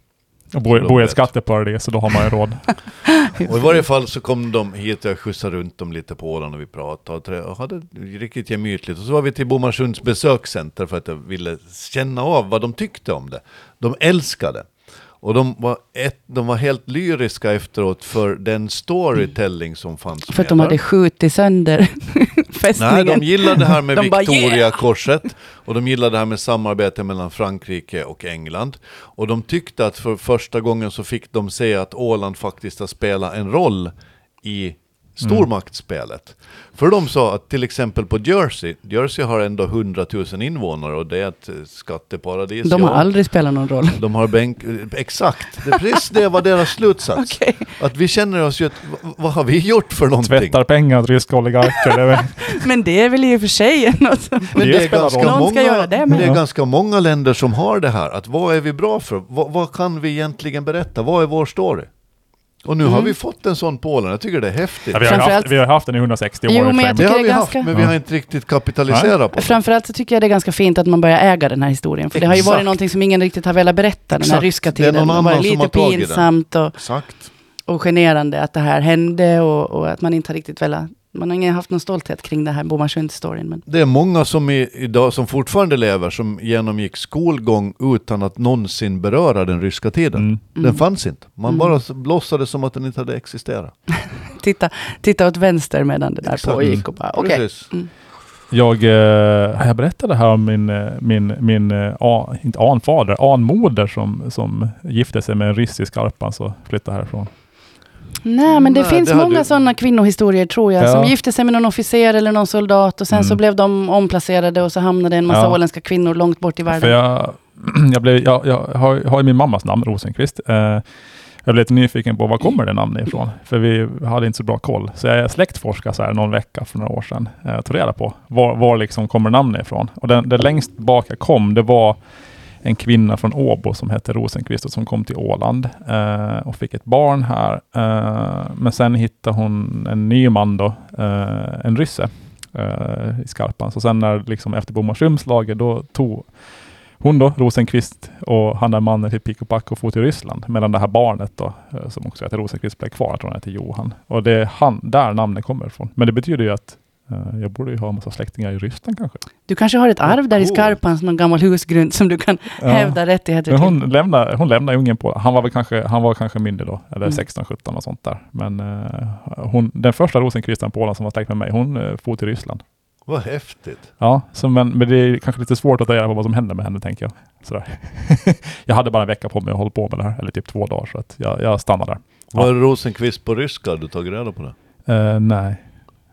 Speaker 3: Jag bor, bor i ett skatteparadis så då har man ju råd.
Speaker 2: Och i varje fall så kom de hit och jag skjutsade runt dem lite på Åland och vi pratade och, trä- och hade riktigt gemytligt. Och så var vi till Bomarsunds besökscenter för att jag ville känna av vad de tyckte om det. De älskade. Och de var, ett, de var helt lyriska efteråt för den storytelling som fanns
Speaker 1: För att de hade skjutit sönder
Speaker 2: Nej,
Speaker 1: fästningen.
Speaker 2: de gillade det här med
Speaker 1: De bara,
Speaker 2: Victoria-korset och de gillade det här med samarbete mellan Frankrike och England. Och de tyckte att för första gången så fick de se att Åland faktiskt har spelat en roll i stormaktsspelet.
Speaker 1: Mm.
Speaker 2: För de sa att till exempel på Jersey, Jersey har ändå 100 000 invånare och det är ett eh, skatteparadis.
Speaker 1: De har
Speaker 2: ja.
Speaker 1: aldrig spelat någon roll.
Speaker 2: De har bänk... Exakt, det, precis det var deras slutsats.
Speaker 1: Okej.
Speaker 2: Att vi känner oss ju, att, v- vad har vi gjort för någonting?
Speaker 3: Tvättar pengar åt ryska oligarker. det är väl-
Speaker 1: Men det är väl i och för sig något som...
Speaker 2: Men
Speaker 3: Det
Speaker 2: det, är
Speaker 3: spelar
Speaker 2: ganska
Speaker 3: roll.
Speaker 1: Någon
Speaker 2: många,
Speaker 1: ska göra det med.
Speaker 2: det är
Speaker 3: Ja.
Speaker 2: ganska många länder som har det här. Att vad är vi bra för? Vad, vad kan vi egentligen berätta? Vad är vår story? Och nu
Speaker 1: Mm.
Speaker 2: har vi fått en sån på Åland. Jag tycker det är häftigt.
Speaker 3: Ja, vi, har ju haft,
Speaker 1: Framförallt-
Speaker 3: vi har haft den i 160 år.
Speaker 1: Jo,
Speaker 3: i och för
Speaker 1: men
Speaker 3: sig,
Speaker 1: jag
Speaker 2: det
Speaker 1: tycker
Speaker 2: har
Speaker 1: det är
Speaker 2: vi
Speaker 1: ganska-
Speaker 2: haft, men vi har inte riktigt kapitaliserat på det.
Speaker 1: Framförallt så tycker jag det är ganska fint att man börjar äga den här historien. För det har ju
Speaker 2: Exakt.
Speaker 1: varit någonting som ingen riktigt har velat berätta den här
Speaker 2: Exakt.
Speaker 1: ryska
Speaker 2: Det är
Speaker 1: tiden.
Speaker 2: någon
Speaker 1: har
Speaker 2: annan
Speaker 1: varit
Speaker 2: som har
Speaker 1: lite
Speaker 2: tagit den.
Speaker 1: pinsamt och,
Speaker 2: Exakt.
Speaker 1: och generande att det här hände och, och att man inte har riktigt velat... Man har ingen haft någon stolthet kring det här Bomarsund-storyn. Men...
Speaker 2: Det är många som i, idag, som fortfarande lever, som genomgick skolgång utan att någonsin beröra den ryska tiden.
Speaker 3: Mm.
Speaker 2: Den fanns inte. Man
Speaker 1: Mm.
Speaker 2: bara s- låtsades som att den inte hade existerat.
Speaker 1: titta, titta åt vänster medan det där
Speaker 2: Exakt.
Speaker 1: pågick och bara okej.
Speaker 2: Precis.
Speaker 3: Jag, eh, har jag berättade här om min, eh, min, min eh, a, inte anfader, anmoder som, som gifte sig med en ryss i Skarpan så flyttade härifrån.
Speaker 1: Nej, men det
Speaker 2: Nej,
Speaker 1: finns
Speaker 2: det hade-
Speaker 1: många sådana kvinnohistorier tror jag,
Speaker 3: Ja.
Speaker 1: som gifte sig med någon officer eller någon soldat och sen så
Speaker 3: Mm.
Speaker 1: blev de omplacerade och så hamnade en massa
Speaker 3: Ja.
Speaker 1: åländska kvinnor långt bort i
Speaker 3: För
Speaker 1: världen.
Speaker 3: jag, jag, blev, jag, jag har, har ju min mammas namn, Rosenqvist. Eh, jag blev lite nyfiken på var kommer det namnet ifrån? För vi hade inte så bra koll. Så jag släktforskade så här någon vecka för några år sedan. Eh, tog reda på var, var liksom kommer namnet ifrån. Och den, den längst bak jag kom, det var en kvinna från Åbo som hette Rosenqvist och som kom till Åland eh, och fick ett barn här. Eh, men sen hittade hon en ny man då, eh, en rysse eh, i Skarpan. Så sen när liksom efter Bomarsundslaget, då tog hon då, Rosenqvist och han där mannen till Pick och Pack och for till Ryssland. Medan det här barnet då, eh, som också heter Rosenqvist, blev kvar. Jag tror han heter Johan. Och det är han, där namnet kommer ifrån. Men det betyder ju att eh, jag borde ju ha en massa släktingar i Ryssland kanske.
Speaker 1: Du kanske har ett arv där i
Speaker 2: Coolt.
Speaker 1: Skarpan, som någon gammal husgrund som du kan
Speaker 3: Ja.
Speaker 1: hävda rättigheter
Speaker 3: Men
Speaker 1: till.
Speaker 3: hon lämnade, hon lämnade ungen på, han var väl kanske, han var kanske mindre då, eller
Speaker 1: Mm.
Speaker 3: 16, 17 och sånt där. Men eh, hon, den första Rosenqvisten på Åland som var släkt med mig, hon eh, for till Ryssland.
Speaker 2: Vad häftigt.
Speaker 3: Ja, så men, men det är kanske lite svårt att ta reda på vad som händer med henne, tänker jag. Sådär. jag hade bara en vecka på mig att hålla på med det här, eller typ två dagar, så att jag, jag stannar där. Ja.
Speaker 2: Var det Rosenqvist på ryska? Har du tagit reda på det?
Speaker 3: Eh, nej,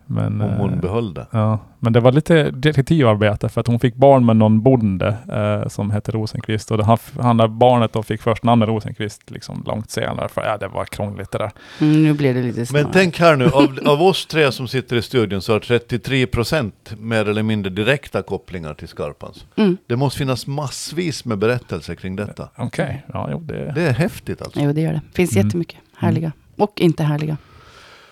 Speaker 3: men...
Speaker 2: Om hon
Speaker 3: eh,
Speaker 2: behöll det?
Speaker 3: Ja, men det var lite detektivarbete för att hon fick barn med någon bonde eh, som hette Rosenqvist och det, han, han där barnet då fick först namnet Rosenqvist liksom långt senare för ja, det var krångligt det där.
Speaker 1: Mm, nu blev det lite snarare.
Speaker 2: Men tänk här nu, av, av oss tre som sitter i studion så har 33% mer eller mindre direkta kopplingar till Skarpans.
Speaker 1: Mm.
Speaker 2: Det måste finnas massvis med berättelser kring detta.
Speaker 3: Okej, ja jo det...
Speaker 2: Det är häftigt alltså.
Speaker 1: Jo, det gör det. finns
Speaker 3: Mm.
Speaker 1: jättemycket härliga. Och inte härliga.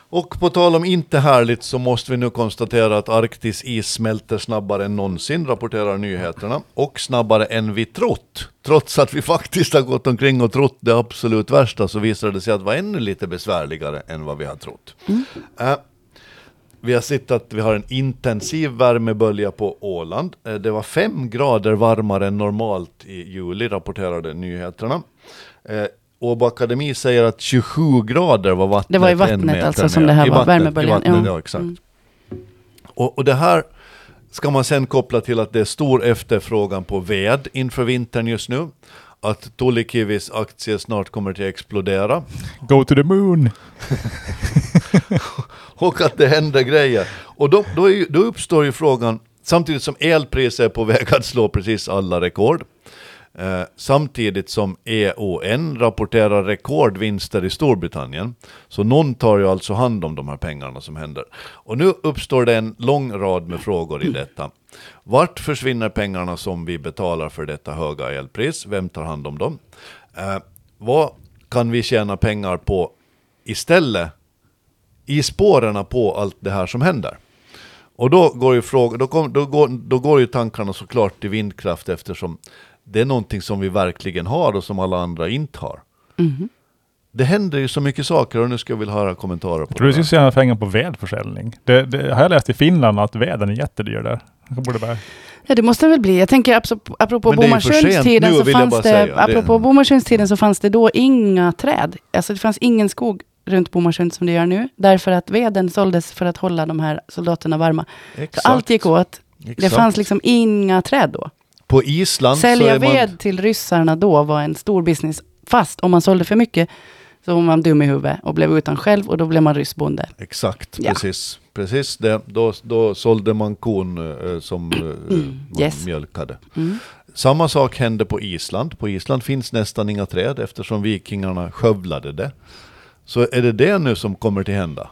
Speaker 2: Och på tal om inte härligt så måste vi nu konstatera att Arktis is smälter snabbare än någonsin, rapporterar nyheterna. Och snabbare än vi trott. Trots att vi faktiskt har gått omkring och trott det absolut värsta så visade det sig att det var ännu lite besvärligare än vad vi har trott. Eh, vi har sett att vi har en intensiv värmebölja på Åland. Eh, Det var fem grader varmare än normalt i juli, rapporterade nyheterna. Eh, Åbo Akademi säger att 27 grader var vattnet
Speaker 1: Det var i
Speaker 2: en
Speaker 1: vattnet
Speaker 2: meter
Speaker 1: alltså
Speaker 2: ner.
Speaker 1: som det här
Speaker 2: I
Speaker 1: var,
Speaker 2: vattnet, i
Speaker 1: värmeböljan.
Speaker 2: vattnet,
Speaker 1: Ja.
Speaker 2: ja, exakt.
Speaker 1: Mm.
Speaker 2: Och, och det här ska man sen koppla till att det är stor efterfrågan på ved inför vintern just nu. Att Tulikivis aktie snart kommer att explodera.
Speaker 3: Go to the moon!
Speaker 2: och att det händer grejer. Och då, då, är ju, då uppstår ju frågan, samtidigt som elpriset är på väg att slå precis alla rekord, eh, samtidigt som EON rapporterar rekordvinster i Storbritannien, så någon tar ju alltså hand om de här pengarna som händer. Och nu uppstår det en lång rad med frågor i detta. Vart försvinner pengarna som vi betalar för detta höga elpris? Vem tar hand om dem? Eh, vad kan vi tjäna pengar på istället i spåren på allt det här som händer. Och då går ju, fråga, då kom, då går, då går ju tankarna såklart till vindkraft eftersom det är någonting som vi verkligen har och som alla andra inte har.
Speaker 1: Mhm.
Speaker 2: Det händer ju så mycket saker och nu ska jag vilja höra kommentarer på
Speaker 3: Tror du
Speaker 2: det.
Speaker 3: skulle
Speaker 2: här.
Speaker 3: tjäna pengar på vedförsäljning? Det, det har jag läst i Finland att veden är jättedyr där. Jag borde bara,
Speaker 1: Ja, det måste den väl bli. Jag tänker abso- apropå
Speaker 2: Men det är ju för sent
Speaker 1: Bomarsundstiden
Speaker 2: nu,
Speaker 1: så
Speaker 2: vill jag
Speaker 1: fanns
Speaker 2: bara
Speaker 1: det,
Speaker 2: säga. Det-
Speaker 1: apropå Bomarsundstiden så fanns det då inga träd. Alltså det fanns ingen skog runt Bomarsund som det gör nu. Därför att veden såldes för att hålla de här soldaterna varma. Så
Speaker 2: Exakt.
Speaker 1: allt gick åt. Det
Speaker 2: Exakt.
Speaker 1: fanns liksom inga träd då.
Speaker 2: På Island så
Speaker 1: Sälja
Speaker 2: är man...
Speaker 1: ved till ryssarna då var en stor business. Fast om man sålde för mycket så var man dum i huvudet och blev utan själv och då blev man ryssbonde.
Speaker 2: Exakt,
Speaker 1: Ja.
Speaker 2: precis. Precis det. Då, då sålde man kon eh, som eh, man
Speaker 1: Mm, yes.
Speaker 2: mjölkade.
Speaker 1: Mm.
Speaker 2: Samma sak hände på Island. På Island finns nästan inga träd eftersom vikingarna skövlade det. Så är det det nu som kommer till hända?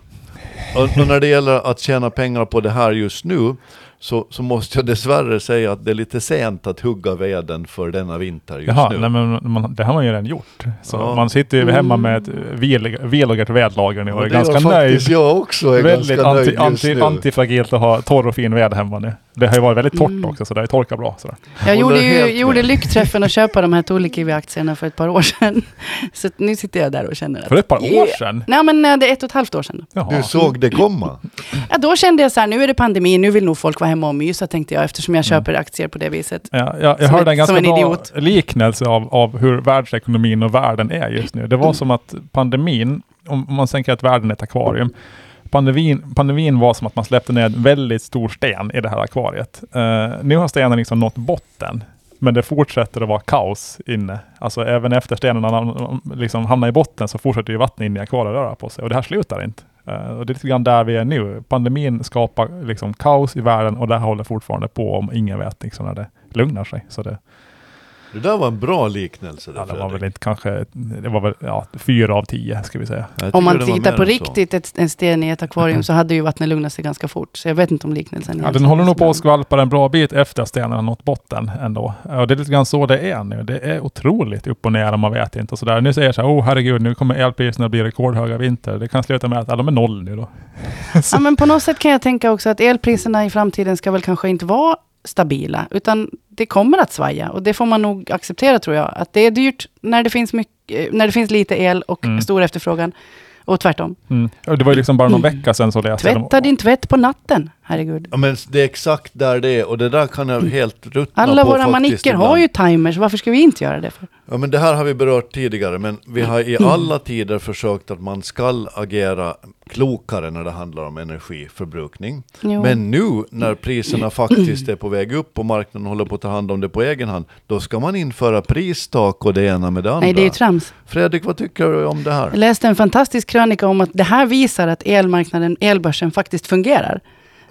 Speaker 2: Och, och när det gäller att tjäna pengar på det här just nu så, så måste jag dessvärre säga att det är lite sent att hugga veden för denna vinter just
Speaker 3: jaha,
Speaker 2: nu.
Speaker 3: nej, men man, det har man ju redan gjort. Så
Speaker 2: Ja.
Speaker 3: man sitter ju hemma med ett eh, vel- velogat vedlager nu och
Speaker 2: Och
Speaker 3: är
Speaker 2: det gör
Speaker 3: ganska nöjd.
Speaker 2: faktiskt jag också. Är
Speaker 3: väldigt
Speaker 2: ganska
Speaker 3: anti,
Speaker 2: nöjd just
Speaker 3: anti,
Speaker 2: nu.
Speaker 3: antifragilt att ha torr och fin ved hemma nu. Det har ju varit väldigt torrt
Speaker 1: Mm.
Speaker 3: också så det har ju torkat bra. Sådär.
Speaker 1: Jag gjorde,
Speaker 2: Håller
Speaker 1: ju,
Speaker 2: helt
Speaker 1: gjorde
Speaker 2: med.
Speaker 1: lyckträffen och köpa de här Tulikivi-aktierna för ett par år sedan. Så att nu sitter jag där och känner att...
Speaker 3: För ett par år
Speaker 1: Yeah.
Speaker 3: sedan?
Speaker 1: Nej, men eh, det är ett och ett halvt år sedan.
Speaker 2: Du
Speaker 3: Jaha.
Speaker 2: såg det komma.
Speaker 1: Ja, då kände jag så här, nu är det pandemi, nu vill nog folk vara hemma och mysa, tänkte jag, eftersom
Speaker 2: Mm.
Speaker 1: jag köper aktier på det viset.
Speaker 3: Ja, jag jag
Speaker 1: Som
Speaker 3: hörde
Speaker 1: en-
Speaker 3: en ganska
Speaker 1: som en
Speaker 3: bra
Speaker 1: idiot.
Speaker 3: liknelse av, av hur världsekonomin och världen är just nu. Det
Speaker 1: Mm.
Speaker 3: var som att pandemin, om om man tänker att världen är ett akvarium, pandemin, pandemin var som att man släppte ner en väldigt stor sten i det här akvariet. Eh, nu har stenen liksom nått botten, men det fortsätter att vara kaos inne. Alltså även efter stenen har liksom hamnar i botten så fortsätter ju vattnet in i akvariet röra på sig och det här slutar inte. Eh, och det är lite grann där vi är nu. Pandemin skapar liksom kaos i världen och det här håller fortfarande på om ingen vet liksom när det lugnar sig. Så det,
Speaker 2: Det där var en bra liknelse. där,
Speaker 3: ja, det var
Speaker 2: Fredrik.
Speaker 3: väl inte kanske, det var väl ja, fyra av tio ska vi säga.
Speaker 2: Jag tycker
Speaker 1: Om man
Speaker 2: det var
Speaker 1: tittar
Speaker 2: mer
Speaker 1: på
Speaker 2: än så.
Speaker 1: riktigt ett, en sten i ett akvarium så hade ju vattnet lugnat sig ganska fort. Så jag vet inte om liknelsen
Speaker 3: Ja, den
Speaker 1: egentligen
Speaker 3: håller nog på
Speaker 1: stämmer.
Speaker 3: att skvalpa en bra bit efter att stenen har nått botten ändå. Och det är lite grann så det är nu. Det är otroligt upp och ner och man vet inte och sådär. Nu säger jag så här, oh herregud, nu kommer elpriserna bli rekordhöga i vinter. Det kan sluta med att ja, de är noll nu då.
Speaker 1: Ja, men på något sätt kan jag tänka också att elpriserna i framtiden ska väl kanske inte vara stabila, utan det kommer att svaja. Och det får man nog acceptera, tror jag. Att det är dyrt när det finns, mycket, när det finns lite el och
Speaker 3: Mm.
Speaker 1: stor efterfrågan. Och tvärtom.
Speaker 3: Mm. Och Det var ju liksom bara någon vecka sedan så läste jag.
Speaker 1: Tvätta din tvätt på natten. herregud.
Speaker 2: Ja, men det är exakt där det är och det där kan jag helt ruttna
Speaker 1: Alla
Speaker 2: på
Speaker 1: våra
Speaker 2: faktiskt
Speaker 1: manicker
Speaker 2: ibland.
Speaker 1: har ju timers, varför ska vi inte göra det? För?
Speaker 2: Ja, men det här har vi berört tidigare, men vi har
Speaker 1: Mm.
Speaker 2: i alla tider försökt att man ska agera klokare när det handlar om energiförbrukning.
Speaker 1: Jo.
Speaker 2: Men nu när priserna faktiskt är på väg upp och marknaden håller på att ta hand om det på egen hand, då ska man införa pristak och det ena med det andra.
Speaker 1: Nej, det är ju trams.
Speaker 2: Fredrik, vad tycker du om det
Speaker 1: Jag
Speaker 2: här?
Speaker 1: läste en fantastisk krönika om att det här visar att elmarknaden, elbörsen faktiskt fungerar.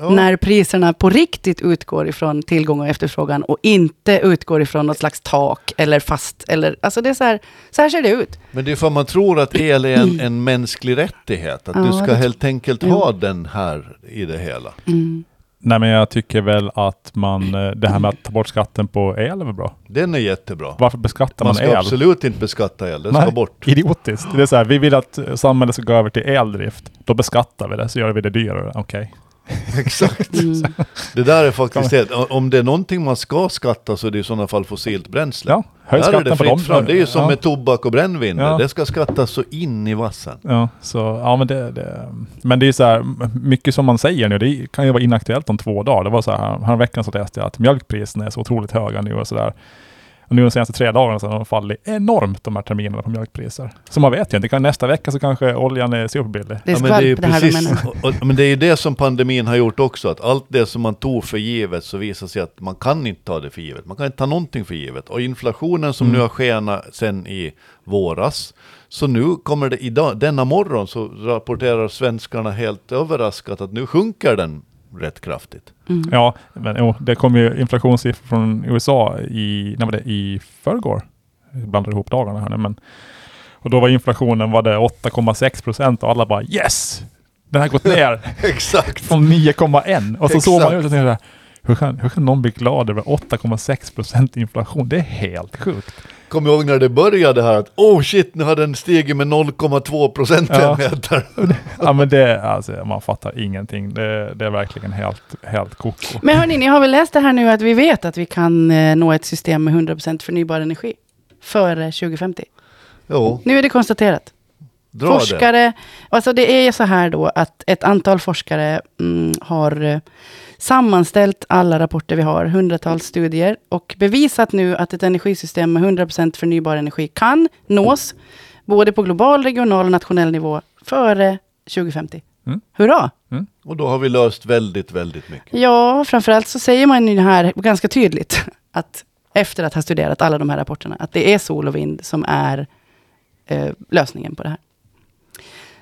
Speaker 2: Ja.
Speaker 1: När priserna på riktigt utgår ifrån tillgång och efterfrågan och inte utgår ifrån något slags tak eller fast. Eller, alltså det är så, här, så här ser det ut.
Speaker 2: Men det är för man tror att el är en, en mänsklig rättighet, att
Speaker 1: Ja,
Speaker 2: du ska
Speaker 1: det-
Speaker 2: helt enkelt
Speaker 1: Jo.
Speaker 2: ha den här i det hela.
Speaker 3: Nej men jag tycker väl att man, eh, det här med att ta bort skatten på el är väl bra.
Speaker 2: Den är jättebra.
Speaker 3: Varför beskattar man,
Speaker 2: Man ska
Speaker 3: el?
Speaker 2: absolut inte beskatta el, den ska
Speaker 3: Nej,
Speaker 2: bort.
Speaker 3: Idiotiskt. Det är så här, vi vill att eh, samhället ska gå över till eldrift. Då beskattar vi det, så gör vi det dyrare. Okej.
Speaker 2: Exakt.
Speaker 1: Mm.
Speaker 2: Det där är faktiskt helt, om det är någonting man ska skatta så är det i sådana fall fossilt bränsle.
Speaker 3: Ja, höj
Speaker 2: där är
Speaker 3: skatten
Speaker 2: det
Speaker 3: på dem.
Speaker 2: fritt fram. Det är ju som
Speaker 3: ja.
Speaker 2: med tobak och brännvin.
Speaker 3: Ja.
Speaker 2: Det ska skattas så in i vassen.
Speaker 3: Ja, så, ja men, det, det, men det är så här, mycket som man säger nu, det kan ju vara inaktuellt om två dagar. Det var så här, häromveckan så läste jag att mjölkpriserna är så otroligt höga nu och sådär. Och nu de senaste tre dagarna så har de fallit enormt de här terminerna på mjölkpriser. Så man vet ju inte, kan, nästa vecka så kanske oljan är superbillig.
Speaker 1: Det är
Speaker 2: men, det är
Speaker 1: skvalp det, här vi menar.
Speaker 2: och, och, men det är ju det som pandemin har gjort också, att allt det som man tog för givet så visar sig att man kan inte ta det för givet. Man kan inte ta någonting för givet. Och inflationen som
Speaker 1: Mm.
Speaker 2: nu har skenat sen i våras, så nu kommer det idag, denna morgon så rapporterar svenskarna helt överraskat att nu sjunker den rätt kraftigt.
Speaker 1: Mm.
Speaker 3: Ja, men jo, det kom ju inflationssiffror från USA i, nej, var det, i förrgår. Jag blandar ihop dagarna här nu, men och då var inflationen var det 8,6 procent och alla bara yes! Den har gått ner
Speaker 2: Exakt!
Speaker 3: från 9,1 och så
Speaker 2: Exakt.
Speaker 3: såg man ut och tänkte så här, hur kan, hur kan någon bli glad över 8,6 procent inflation? Det är helt sjukt.
Speaker 2: Kom ihåg när det började här att oh shit, nu har den stigit med 0,2 procentenheter.
Speaker 3: Ja men det, alltså man fattar ingenting. Det, det är verkligen helt, helt koko.
Speaker 1: Men hörni, ni har väl läst det här nu att vi vet att vi kan eh, nå ett system med 100% förnybar energi före 2050.
Speaker 2: Jo,
Speaker 1: Nu är det konstaterat.
Speaker 2: dra det.
Speaker 1: forskare, alltså det är ju så här då att ett antal forskare mm, har eh, sammanställt alla rapporter vi har, hundratals studier, och bevisat nu att ett energisystem med 100% förnybar energi kan nås, både på global, regional och nationell nivå, före 2050.
Speaker 3: Mm.
Speaker 1: Hurra!
Speaker 2: Och då har vi löst väldigt, väldigt mycket.
Speaker 1: Ja, framförallt så säger man ju här ganska tydligt att efter att ha studerat alla de här rapporterna, att det är sol och vind som är eh, lösningen på det här.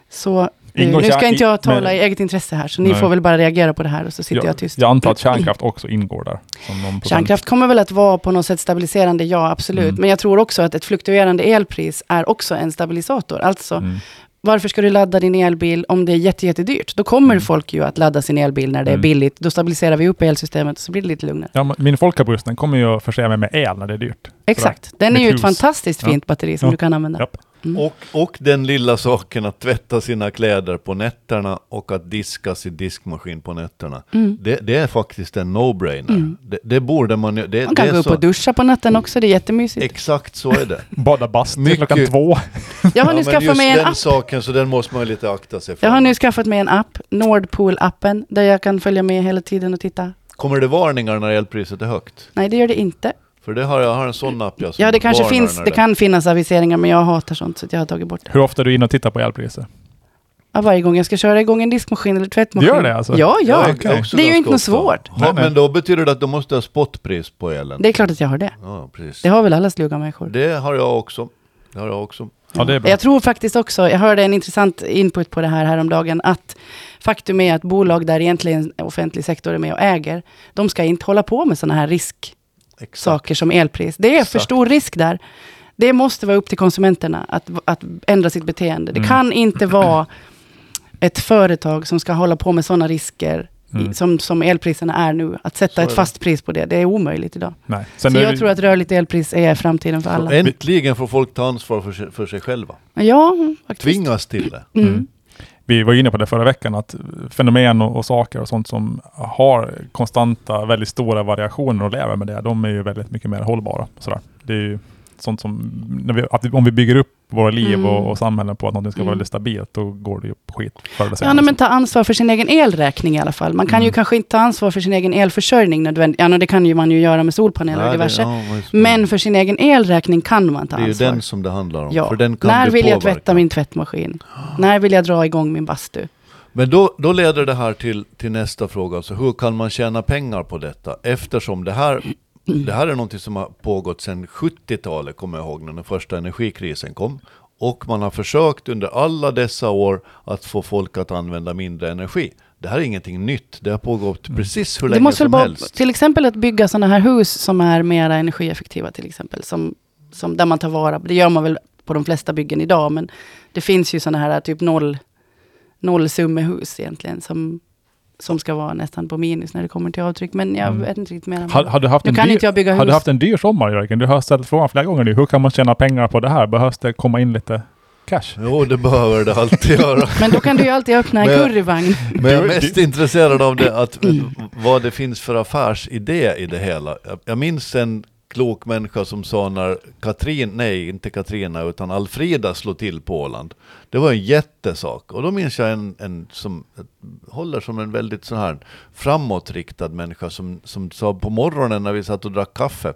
Speaker 1: Så eh,
Speaker 3: Ingår
Speaker 1: nu ska
Speaker 3: kärn-
Speaker 1: inte
Speaker 3: i-
Speaker 1: jag tala
Speaker 3: men-
Speaker 1: i eget intresse här, så ni
Speaker 3: Nej.
Speaker 1: får väl bara reagera på det här och så sitter jag, tyst.
Speaker 3: Jag antar att kärnkraft också ingår där. Som någon procent.
Speaker 1: Kärnkraft kommer väl att vara på något sätt stabiliserande, ja absolut.
Speaker 3: Mm.
Speaker 1: Men jag tror också att ett fluktuerande elpris är också en stabilisator. Alltså,
Speaker 3: Mm.
Speaker 1: varför ska du ladda din elbil om det är jätte, jättedyrt? Då kommer
Speaker 2: Mm.
Speaker 1: folk ju att ladda sin elbil när det är
Speaker 3: Mm.
Speaker 1: billigt. Då stabiliserar vi upp elsystemet och så blir det lite lugnare.
Speaker 3: Ja, men min folkabuss den kommer ju att förse mig med el när det är dyrt.
Speaker 1: Exakt. Den är
Speaker 3: Mitt
Speaker 1: ju ett
Speaker 3: hus.
Speaker 1: fantastiskt fint batteri som
Speaker 3: Ja.
Speaker 1: du kan använda.
Speaker 3: Japp.
Speaker 1: Mm.
Speaker 2: Och, och den lilla saken att tvätta sina kläder på nätterna och att diska sin diskmaskin på nätterna.
Speaker 1: Mm.
Speaker 2: Det, det är faktiskt en no-brainer. Det, det borde man ju- det,
Speaker 1: Man
Speaker 2: det
Speaker 1: kan gå
Speaker 2: är
Speaker 1: upp och
Speaker 2: så, Mm.
Speaker 1: duscha på natten också, det är jättemysigt.
Speaker 2: Exakt så är det.
Speaker 3: Bada bastu
Speaker 2: Mycket-
Speaker 3: klockan två.
Speaker 1: Jag har nu
Speaker 2: men
Speaker 1: skaffat
Speaker 2: just
Speaker 1: mig en
Speaker 2: den
Speaker 1: app.
Speaker 2: saken, så den måste man ju lite akta sig för.
Speaker 1: Jag har nu skaffat mig en app, Nordpool-appen, där jag kan följa med hela tiden och titta.
Speaker 2: Kommer det varningar när elpriset är högt?
Speaker 1: Nej, det gör det inte.
Speaker 2: För det har jag, jag har en sån app jag som
Speaker 1: Ja, det kanske
Speaker 2: varnar
Speaker 1: finns,
Speaker 2: när
Speaker 1: det kan finnas aviseringar, men jag hatar sånt, så att jag har tagit bort det.
Speaker 3: Hur ofta är du inne och tittar på elpriser?
Speaker 1: Ja, varje gång jag ska köra igång en diskmaskin eller tvättmaskin.
Speaker 3: Gör det alltså?
Speaker 1: Ja, ja.
Speaker 2: jag-
Speaker 3: okej.
Speaker 2: också
Speaker 1: Det är ju
Speaker 2: ganska
Speaker 1: inte något
Speaker 2: ofta.
Speaker 1: svårt.
Speaker 2: Ja,
Speaker 3: Nej, nej.
Speaker 2: men då betyder det att du måste ha spotpris på elen.
Speaker 1: Det är klart att jag har det.
Speaker 2: Ja, precis.
Speaker 1: Det har väl alla sluga människor.
Speaker 2: Det har jag också. Det har jag också.
Speaker 3: Ja, det är bra.
Speaker 1: Jag tror faktiskt också, jag hörde en intressant input på det här häromdagen, att faktum är att bolag där egentligen offentlig sektor är med och äger, de ska inte hålla på med sådana här risksaker
Speaker 2: Exakt.
Speaker 1: som elpris. Det är för
Speaker 2: Exakt.
Speaker 1: stor risk där. Det måste vara upp till konsumenterna att, att ändra sitt beteende. Det
Speaker 3: Mm.
Speaker 1: kan inte vara ett företag som ska hålla på med sådana risker i-
Speaker 3: Mm.
Speaker 1: som, som elpriserna är nu. Att sätta
Speaker 2: Så är
Speaker 1: ett
Speaker 2: det.
Speaker 1: fast pris på det, det är omöjligt idag.
Speaker 3: Nej. Sen
Speaker 1: Så
Speaker 3: är
Speaker 1: jag
Speaker 3: det-
Speaker 1: tror att rörligt elpris är framtiden för alla.
Speaker 2: Så äntligen får folk ta ansvar för sig, för sig själva.
Speaker 1: Ja, faktiskt.
Speaker 2: Tvingas till det.
Speaker 1: Mm.
Speaker 3: Vi var inne på det förra veckan, att fenomen och, och saker och sånt som har konstanta, väldigt stora variationer och lever med det, de är ju väldigt mycket mer hållbara. och Sådär. Det är ju sånt som, när vi, att vi, om vi bygger upp våra liv
Speaker 1: Mm.
Speaker 3: och, och samhällen på att någonting ska vara
Speaker 1: Mm.
Speaker 3: väldigt stabilt, då går det ju på skit förr eller
Speaker 1: Ja,
Speaker 3: senare.
Speaker 1: nej,
Speaker 2: liksom.
Speaker 1: men ta ansvar för sin egen elräkning i alla fall. Man kan ju
Speaker 3: Mm.
Speaker 1: kanske inte ta ansvar för sin egen elförsörjning nödvändigt. Ja, no, det kan ju man ju göra med solpaneler och
Speaker 2: Nej, det-
Speaker 1: diverse.
Speaker 2: ja, vad är det som-
Speaker 1: Men för sin egen elräkning kan man ta
Speaker 2: Det är ju
Speaker 1: ansvar.
Speaker 2: den som det handlar om.
Speaker 1: Ja.
Speaker 2: För den kan
Speaker 1: När
Speaker 2: du
Speaker 1: vill jag
Speaker 2: påverka.
Speaker 1: tvätta min tvättmaskin? När vill jag dra igång min bastu?
Speaker 2: Men då, då leder det här till, till nästa fråga. Alltså, hur kan man tjäna pengar på detta? Eftersom det här, det här är någonting som har pågått sedan 70-talet, kommer jag ihåg, när den första energikrisen kom. Och man har försökt under alla dessa år att få folk att använda mindre energi. Det här är ingenting nytt. Det har pågått precis hur
Speaker 1: Det
Speaker 2: länge
Speaker 1: måste väl
Speaker 2: som
Speaker 1: bara,
Speaker 2: helst.
Speaker 1: till exempel att bygga sådana här hus som är mera energieffektiva till exempel. Som, som där man tar vara, det gör man väl på de flesta byggen idag, men det finns ju sådana här typ noll, nollsummehus egentligen som, som ska vara nästan på minus när det kommer till avtryck. Men jag
Speaker 3: Mm.
Speaker 1: vet inte riktigt mer. om
Speaker 3: Hade,
Speaker 1: det.
Speaker 3: hade du haft
Speaker 1: Nu
Speaker 3: en
Speaker 1: kan
Speaker 3: dyr,
Speaker 1: inte jag bygga
Speaker 3: Hade
Speaker 1: hus.
Speaker 3: du haft en dyr sommar Jörgen? Du har ställt frågan flera gånger nu. Hur kan man tjäna pengar på det här? Behövs det komma in lite cash?
Speaker 2: Jo, det behöver det alltid göra.
Speaker 1: Men då kan du ju alltid öppna en
Speaker 2: Men-
Speaker 1: curryvagn.
Speaker 2: Men jag är
Speaker 3: Du-
Speaker 2: mest intresserad av det, att, vad det finns för affärsidé i det hela. Jag, jag minns en klok människa som sa när Katrin, nej inte Katrina, utan Alfrida slog till på Åland. Det var en jättesak. Och då minns jag en, en som håller som en väldigt sån här framåtriktad människa som, som sa på morgonen när vi satt och drack kaffe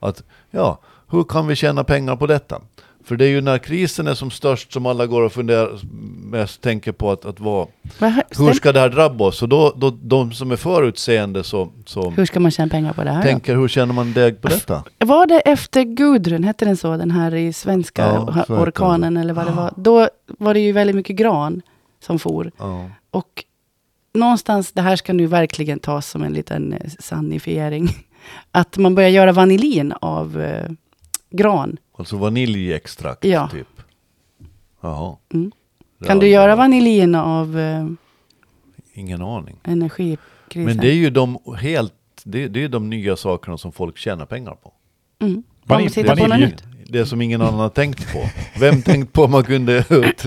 Speaker 2: att ja, hur kan vi tjäna pengar på detta? För det är ju när krisen är som störst som alla går och funderar, mest tänker på att, att vara
Speaker 1: Vad-
Speaker 2: hur
Speaker 1: stäm-
Speaker 2: ska det här drabba oss? Och då, då, de som är förutseende så, så
Speaker 1: Hur ska man tjäna pengar på det här? då?
Speaker 2: tänker, hur tjänar man deg på detta?
Speaker 1: Var det efter Gudrun, hette den så, den här i svenska
Speaker 2: Ja, så heter
Speaker 1: orkanen eller vad det var? Då var det ju väldigt mycket gran som for.
Speaker 2: Ja.
Speaker 1: Och någonstans, det här ska nu verkligen tas som en liten eh, sannifiering. Att man börjar göra vanilin av eh, gran.
Speaker 2: Alltså vaniljextrakt
Speaker 1: Ja.
Speaker 2: typ. Jaha.
Speaker 1: Mm.
Speaker 2: Det
Speaker 1: Kan
Speaker 2: har
Speaker 1: du
Speaker 2: jag
Speaker 1: göra
Speaker 2: aldrig-
Speaker 1: vanilin av eh,
Speaker 2: Ingen aning.
Speaker 1: energikrisen?
Speaker 2: Men det är ju de helt, det, det är de nya sakerna som folk tjänar pengar på.
Speaker 1: Mm.
Speaker 3: Vanil-
Speaker 1: Vanil, titta på
Speaker 3: vanilj.
Speaker 1: något nytt.
Speaker 2: Det som ingen annan har tänkt på. Vem tänkt på om man kunde ut?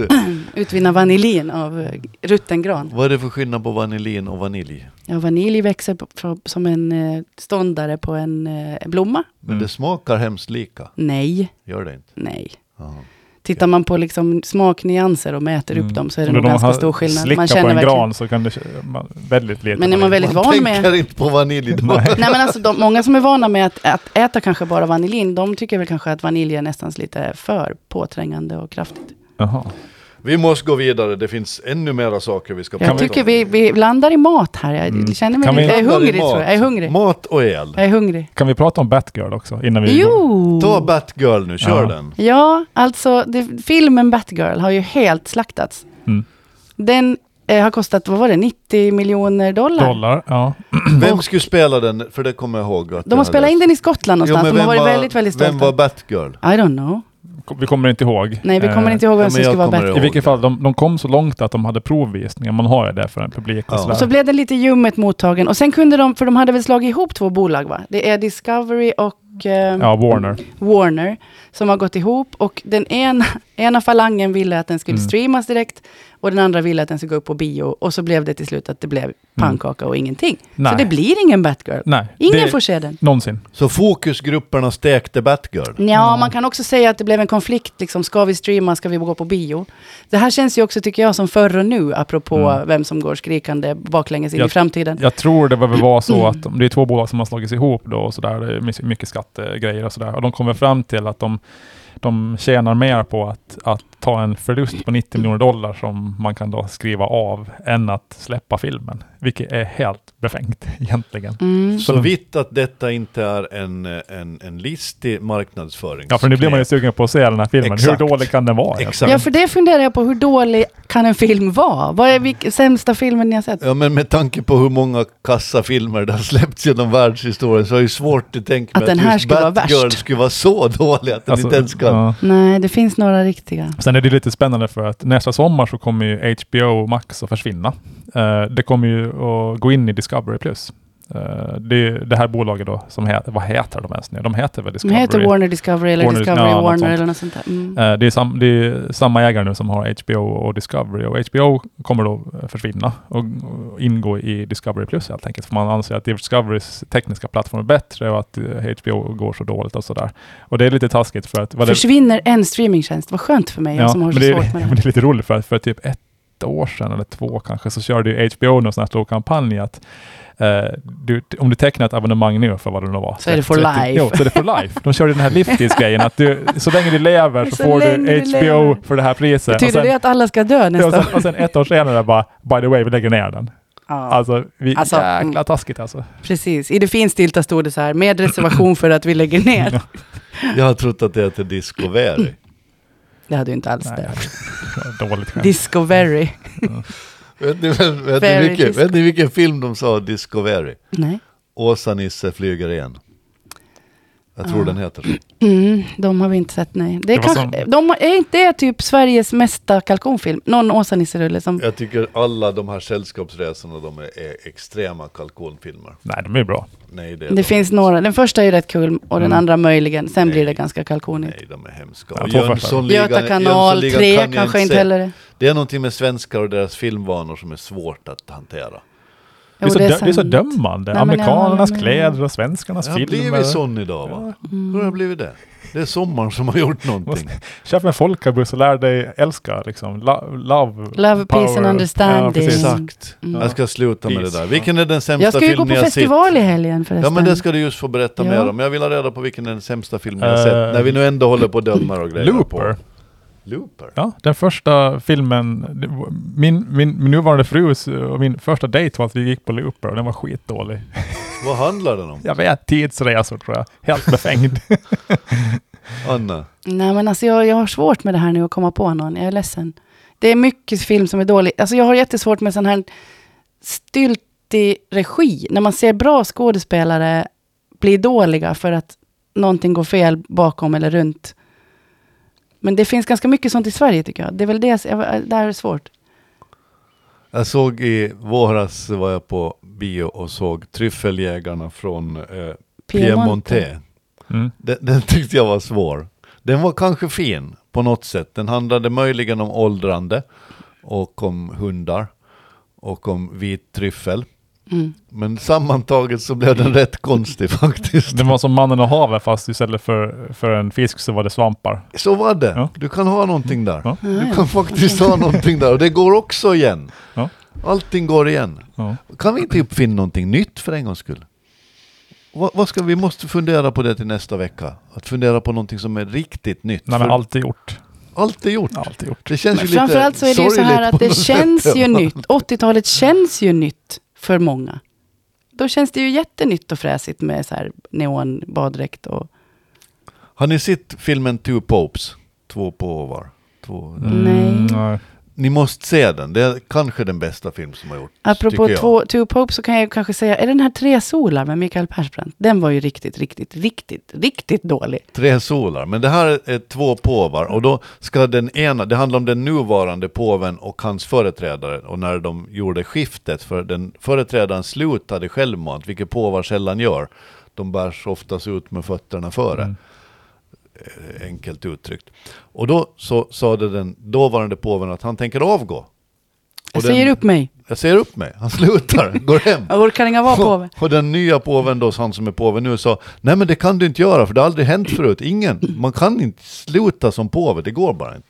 Speaker 1: Utvinna vanilin av eh, rutten gran.
Speaker 2: Vad är det för skillnad på vanilin och vanilj?
Speaker 1: Ja, vanilj växer på, från- som en eh, ståndare på en eh, blomma.
Speaker 2: Men
Speaker 3: Mm.
Speaker 2: det smakar hemskt lika.
Speaker 1: Nej,
Speaker 2: Gör det inte?
Speaker 1: nej.
Speaker 2: Jaha.
Speaker 1: Tittar man på liksom smaknyanser och mäter upp dem så är det
Speaker 3: Om
Speaker 1: nog
Speaker 3: någon
Speaker 1: ganska
Speaker 3: har
Speaker 1: stor skillnad.
Speaker 3: slickat
Speaker 1: Man känner
Speaker 3: på en
Speaker 1: verkligen.
Speaker 3: gran så kan det k- man, väldigt lite.
Speaker 1: Men är man väldigt
Speaker 2: Man
Speaker 1: van med...
Speaker 2: tänker inte på vanilj då.
Speaker 3: Nej.
Speaker 1: Nej men alltså de, många som är vana med att, att äta kanske bara vanilin, de tycker väl kanske att vanilj är nästan lite för påträngande och kraftigt.
Speaker 3: Jaha.
Speaker 2: Vi måste gå vidare, det finns ännu mera saker vi ska
Speaker 1: Jag
Speaker 2: prata
Speaker 1: tycker
Speaker 2: om.
Speaker 1: vi, vi landar i mat här. Jag
Speaker 3: Mm.
Speaker 1: känner mig
Speaker 3: Kan vi-
Speaker 1: lite, jag är
Speaker 2: Landar i
Speaker 1: hungrig
Speaker 2: mat.
Speaker 1: tror jag. Jag är hungrig.
Speaker 2: Mat och el.
Speaker 1: Jag är hungrig.
Speaker 3: Kan vi prata om Batgirl också? Innan vi går-
Speaker 1: Jo!
Speaker 2: Ta Batgirl nu, kör
Speaker 3: Ja.
Speaker 2: den.
Speaker 1: Ja, alltså det, filmen Batgirl har ju helt slaktats.
Speaker 3: Mm.
Speaker 1: Den eh, har kostat, vad var det, 90 miljoner dollar?
Speaker 3: Dollar, ja.
Speaker 2: Vem skulle spela den? För det kommer jag ihåg. Att
Speaker 1: De har spelat in den i Skottland
Speaker 2: Jo, men
Speaker 1: någonstans. de
Speaker 2: vem
Speaker 1: har varit
Speaker 2: var-
Speaker 1: väldigt, väldigt stolta.
Speaker 2: Vem var Batgirl?
Speaker 1: I don't know.
Speaker 3: Vi kommer inte ihåg.
Speaker 1: Nej, vi kommer
Speaker 3: Eh,
Speaker 1: inte ihåg vem
Speaker 2: men
Speaker 1: som
Speaker 2: jag
Speaker 1: skulle vara
Speaker 2: kommer
Speaker 1: Batgirl.
Speaker 2: ihåg.
Speaker 3: I vilket fall, de, de kom så långt att de hade provvisningar. Man har ju det för en publik och
Speaker 2: Ja.
Speaker 3: sådär.
Speaker 1: Och så blev den lite ljummet mottagen. Och sen kunde de, för de hade väl slagit ihop två bolag va? Det är Discovery och eh,
Speaker 3: ja, Warner.
Speaker 1: Warner som har gått ihop. Och den ena, ena falangen ville att den skulle
Speaker 3: Mm.
Speaker 1: streamas direkt. Och den andra ville att den skulle gå upp på bio. Och så blev det till slut att det blev pannkaka och ingenting.
Speaker 3: Nej.
Speaker 1: Så det blir ingen Batgirl.
Speaker 3: Nej.
Speaker 1: Ingen
Speaker 3: det,
Speaker 1: får se den.
Speaker 3: Någonsin.
Speaker 2: Så fokusgrupperna stekte Batgirl?
Speaker 1: Ja, man kan också säga att det blev en konflikt. Liksom, ska vi streama, ska vi gå på bio? Det här känns ju också, tycker jag, som förr och nu, apropå
Speaker 3: Mm.
Speaker 1: vem som går skrikande baklänges in i
Speaker 3: Jag-
Speaker 1: framtiden.
Speaker 3: Jag tror det var väl var så att de, det är två bolag som har slagits ihop då och sådär. Det är my- mycket skattegrejer och sådär. Och de kommer fram till att de, de tjänar mer på att, att ta en förlust på 90 miljoner dollar som man kan då skriva av än att släppa filmen. Vilket är helt befängt egentligen.
Speaker 1: Mm.
Speaker 2: Så vitt att detta inte är en, en, en listig marknadsföring.
Speaker 3: Ja, för nu blir man ju sugen på att se den här filmen.
Speaker 2: Exakt.
Speaker 3: Hur dålig kan den vara?
Speaker 2: Exakt.
Speaker 1: Ja, för det funderar jag på. Hur dålig kan en film vara? Vad är vilk- sämsta filmen ni har sett?
Speaker 2: Ja, men med tanke på hur många kassafilmer det har släppts genom världshistorien så är det svårt att tänka
Speaker 1: Att
Speaker 2: mig
Speaker 1: den här
Speaker 2: just
Speaker 1: skulle vara
Speaker 2: Batgirl
Speaker 1: värst.
Speaker 2: skulle vara så dålig att den
Speaker 3: Alltså,
Speaker 2: inte ens kan...
Speaker 3: ja.
Speaker 1: Nej, det finns några riktiga.
Speaker 3: Sen är det lite spännande för att nästa sommar så kommer ju HBO Max att försvinna. Eh, det kommer ju att gå in i Discovery Plus. Eh, det, det här bolaget då, som heter, vad heter de ens nu? De heter väl
Speaker 1: Som
Speaker 3: Discovery?
Speaker 1: heter Warner Discovery eller
Speaker 3: Warner-
Speaker 1: Discovery
Speaker 3: ja, något
Speaker 1: Warner
Speaker 3: sånt.
Speaker 1: eller något sånt där. Mm.
Speaker 3: Eh, Det är, sam, det är samma ägare nu som har HBO och Discovery och HBO kommer då eh, försvinna och och ingå i Discovery Plus helt enkelt. För man anser att Discoverys tekniska plattform är bättre och att eh, HBO går så dåligt och sådär. Och det är lite taskigt för att... vad det-
Speaker 1: Försvinner en streamingtjänst, vad skönt för mig jag som har
Speaker 3: men,
Speaker 1: så
Speaker 3: det,
Speaker 1: svårt med det
Speaker 3: men
Speaker 1: här.
Speaker 3: det är lite roligt för att för typ ett år sedan eller två kanske så körde ju HBO någon sån här stor kampanj att eh, du, om du tecknar ett abonnemang nu för vad det nu var.
Speaker 1: Så är det for
Speaker 3: 30
Speaker 1: life.
Speaker 3: Jo, så är det for life. De körde den här livstidsgrejen att du, så länge du lever så,
Speaker 1: Så
Speaker 3: får du
Speaker 1: länge du
Speaker 3: HBO
Speaker 1: lever.
Speaker 3: för det här priset. Och
Speaker 1: Betyder
Speaker 3: sen-
Speaker 1: det att alla ska dö
Speaker 3: Ja, och
Speaker 1: nästa
Speaker 3: sen, och sen ett år senare bara, by the way, vi lägger ner den.
Speaker 1: Ja,
Speaker 3: Alltså, vi,
Speaker 1: Alltså,
Speaker 3: jäkla
Speaker 1: mm.
Speaker 3: taskigt alltså.
Speaker 1: precis. I det finstilta stod det så här, med reservation för att vi lägger ner.
Speaker 2: Jag har trott att det heter Discovery.
Speaker 1: Det hade ju inte alls
Speaker 3: Nej,
Speaker 1: det.
Speaker 3: det var dåligt skämt.
Speaker 1: Discovery.
Speaker 2: Vet ni, vet, vet, ni
Speaker 1: Very
Speaker 2: vilken,
Speaker 1: disco-
Speaker 2: vet ni vilken film de sa Discovery?
Speaker 1: Nej.
Speaker 2: Åsa-Nisse flyger igen. Jag tror
Speaker 1: Ah.
Speaker 2: den heter så.
Speaker 1: Mm, de har vi inte sett, nej. Det är
Speaker 3: Det var
Speaker 1: kanske,
Speaker 3: som-
Speaker 1: de har, är inte det typ Sveriges mesta kalkonfilm? Någon Åsa-Nisse-rulle som...
Speaker 2: Jag tycker alla de här sällskapsresorna de är, är extrema kalkonfilmer.
Speaker 3: Nej, de är bra.
Speaker 2: Nej, det, är de
Speaker 1: Det finns
Speaker 2: inte.
Speaker 1: några. Den första är ju rätt kul och den
Speaker 3: Mm.
Speaker 1: andra möjligen. Sen
Speaker 2: Nej.
Speaker 1: blir det ganska kalkonigt.
Speaker 2: Nej, de är hemska.
Speaker 3: Ja,
Speaker 2: Och
Speaker 3: två första.
Speaker 2: Jönssonligan-
Speaker 1: Göta kanal
Speaker 2: Jönssonligan
Speaker 1: 3
Speaker 2: kan jag
Speaker 1: kanske inte
Speaker 2: se.
Speaker 1: heller är.
Speaker 2: Det är någonting med svenskar och deras filmvanor som är svårt att hantera.
Speaker 3: Det är,
Speaker 1: Jo,
Speaker 3: så, dö- det är så
Speaker 1: sant.
Speaker 3: dömande.
Speaker 1: Nej, men jag
Speaker 3: Amerikanernas
Speaker 1: håller med.
Speaker 3: kläder och svenskarnas
Speaker 2: Jag har
Speaker 3: filmer.
Speaker 2: blivit sån idag va?
Speaker 1: Mm.
Speaker 2: Hur har jag blivit det? Det är sommaren som har gjort någonting.
Speaker 3: Köp en folkabuss och lär dig älska liksom. Lo- love,
Speaker 1: Love, peace and
Speaker 3: Ja,
Speaker 1: understanding.
Speaker 3: precis.
Speaker 2: Exakt.
Speaker 1: Mm.
Speaker 2: Jag ska sluta med det
Speaker 3: Peace.
Speaker 2: där. Vilken är den sämsta
Speaker 1: Jag ska ju gå
Speaker 2: film
Speaker 1: på
Speaker 2: ni har sett?
Speaker 1: festival i helgen förresten.
Speaker 2: Ja men det ska du just få berätta
Speaker 1: Ja.
Speaker 2: mer om. Jag vill ha reda på vilken är den sämsta filmen jag har
Speaker 3: Eh,
Speaker 2: sett. När vi nu ändå håller på och dömer och grejer
Speaker 3: Looper.
Speaker 2: på. Looper?
Speaker 3: Ja, den första filmen. det var- Min, min, min nuvarande frus och min första dejt var att vi gick på Looper och den var skitdålig.
Speaker 2: Vad handlar den om?
Speaker 3: Jag vet, tidsresor tror jag. Helt befängd.
Speaker 2: Anna?
Speaker 1: Nej men alltså jag, jag har svårt med det här nu att komma på någon. Jag är ledsen. Det är mycket film som är dålig. Alltså jag har jättesvårt med sån här styltig regi. När man ser bra skådespelare bli dåliga för att någonting går fel bakom eller runt. Men det finns ganska mycket sånt i Sverige tycker jag. Det är väl det, jag- det här är svårt.
Speaker 2: Jag såg i våras var jag på bio och såg Tryffeljägarna från eh, Piemonte.
Speaker 3: Mm.
Speaker 2: Den, den tyckte jag var svår. Den var kanske fin på något sätt. Den handlade möjligen om åldrande och om hundar och om vit tryffel.
Speaker 1: Mm.
Speaker 2: Men sammantaget så blev den rätt konstig faktiskt.
Speaker 3: Den var som Mannen och havet fast istället för, för en fisk så var det svampar.
Speaker 2: Så var det.
Speaker 3: Ja.
Speaker 2: Du kan ha någonting där.
Speaker 3: Ja.
Speaker 2: Du kan faktiskt ha någonting där. Och det går också igen.
Speaker 3: Ja.
Speaker 2: Allting går igen.
Speaker 3: Ja.
Speaker 2: Kan vi inte uppfinna någonting nytt för en gångs skull? Vad, vad ska, vi måste fundera på det till nästa vecka. Att fundera på någonting som är riktigt nytt.
Speaker 3: Nej,
Speaker 2: För
Speaker 3: men allt är gjort.
Speaker 2: allt är gjort.
Speaker 3: Allt är gjort.
Speaker 2: Det känns ju lite
Speaker 1: Framförallt så är det ju så här
Speaker 2: sorgligt
Speaker 1: att
Speaker 2: på
Speaker 1: det
Speaker 2: något
Speaker 1: känns
Speaker 2: sätt.
Speaker 1: ju nytt. 80-talet känns ju nytt för många. Då känns det ju jättenytt och fräsigt med så här neon baddräkt och...
Speaker 2: Har ni sett filmen Two Popes? Två påvar. Två,
Speaker 1: Nej.
Speaker 3: Mm, nej.
Speaker 2: Ni måste se den. Det är kanske den bästa film som har gjorts.
Speaker 1: Apropå
Speaker 2: tycker jag.
Speaker 1: två, Two Pope så kan jag kanske säga, är den här Tre solar med Mikael Persbrandt? Den var ju riktigt, riktigt, riktigt, riktigt dålig.
Speaker 2: Tre solar, men det här är två påvar och då ska den ena, det handlar om den nuvarande påven och hans företrädare och när de gjorde skiftet för den företrädaren slutade självmant, vilket påvar sällan gör. De bärs oftast ut med fötterna före,
Speaker 3: Mm.
Speaker 2: eh, enkelt uttryckt. Och då så sade den dåvarande påven att han tänker avgå.
Speaker 1: Jag
Speaker 2: den-
Speaker 1: säger upp mig.
Speaker 2: Jag säger upp mig, han slutar, går hem.
Speaker 1: Jag orkar inga vara påve.
Speaker 2: Och, och den nya påven då, han som är påve nu, sa nej men det kan du inte göra för det har aldrig hänt förut. Ingen, man kan inte sluta som påve, det går bara inte.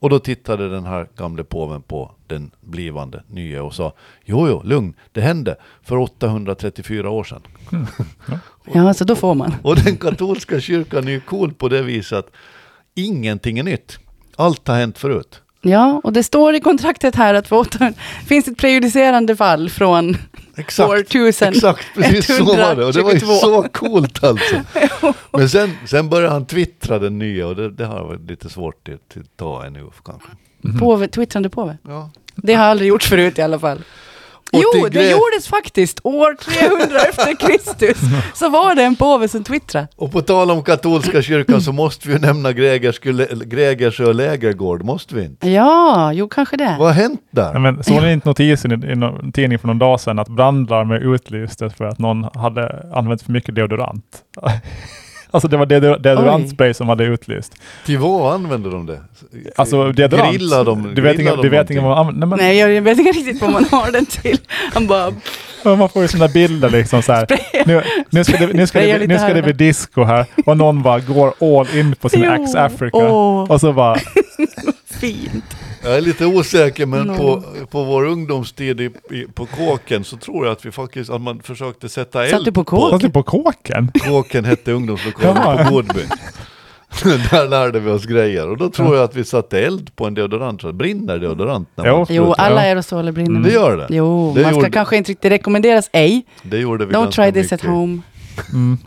Speaker 2: Och då tittade den här gamle påven på den blivande nya och sa jo, jo, lugn, det hände för 834 år sedan.
Speaker 1: Ja, så då får man.
Speaker 2: Och den katolska kyrkan är ju cool på det viset att ingenting är nytt. Allt har hänt förut.
Speaker 1: Ja, och det står i kontraktet här att för 800, finns ett prejudicerande fall från år 1000.
Speaker 2: Exakt, precis så var det. Och det var ju
Speaker 1: 122.
Speaker 2: så coolt alltså. Men sen, sen började han twittra den nya och det, det har varit lite svårt att att ta ännu kanske.
Speaker 1: Påve, twittrande påve.
Speaker 2: Ja.
Speaker 1: Det har jag aldrig gjort förut i alla fall.
Speaker 2: Och
Speaker 1: Jo,
Speaker 2: till
Speaker 1: det
Speaker 2: Gre-
Speaker 1: gjordes faktiskt år 300 efter Kristus. Så var det en påve som twittrade.
Speaker 2: Och på tal om katolska kyrkan så måste vi ju nämna Grägersku- Lä- Grägersö lägergård, måste vi inte?
Speaker 1: Ja, jo kanske det.
Speaker 2: Vad har hänt där?
Speaker 3: Nej, men såg ni inte notisen i, i någon tidning för någon dag sedan att brandlarmet utlystes för att någon hade använt för mycket deodorant? alltså det var deodor- deodorantspray som hade utlyst.
Speaker 2: Till vad använder de det?
Speaker 3: Alltså deodorant.
Speaker 2: Grillar de-
Speaker 3: du vet,
Speaker 2: grillar
Speaker 3: inga,
Speaker 2: de
Speaker 3: du vet
Speaker 2: någonting?
Speaker 3: inga vad man använder. Nej,
Speaker 1: Nej, jag jag vet inte riktigt vad man har den till. Han bara,
Speaker 3: men man får ju sådana bilder liksom så här. Nu, nu, ska det, nu, ska
Speaker 1: Spraya
Speaker 3: det,
Speaker 1: lite
Speaker 3: nu ska
Speaker 1: här
Speaker 3: det
Speaker 1: och
Speaker 3: bli disco här och någon bara går all in på sin
Speaker 1: Jo.
Speaker 3: Axe Africa.
Speaker 1: Åh.
Speaker 3: Och så bara,
Speaker 1: fint.
Speaker 2: Jag är lite osäker, men
Speaker 1: No.
Speaker 2: på, på vår ungdomstid i, i, på kåken så tror jag att vi faktiskt, att man försökte sätta
Speaker 1: Satt
Speaker 2: eld
Speaker 1: du på
Speaker 3: satt
Speaker 1: kåken?
Speaker 3: du på kåken?
Speaker 2: Kåken hette ungdomslokalen
Speaker 3: Jaha.
Speaker 2: på Gårdby. Där lärde vi oss grejer och då tror jag att vi satte eld på en deodorant. Så Brinner deodorant? När man
Speaker 3: Jo.
Speaker 1: Jo,
Speaker 2: sprutar?
Speaker 1: alla aerosoler brinner.
Speaker 2: Det gör det.
Speaker 1: Mm. Jo,
Speaker 2: Det
Speaker 1: man ska
Speaker 2: gjorde-
Speaker 1: kanske inte riktigt rekommenderas ej.
Speaker 2: Det gjorde vi
Speaker 1: Don't
Speaker 2: ganska
Speaker 1: try this at
Speaker 2: mycket
Speaker 1: home.
Speaker 3: Mm.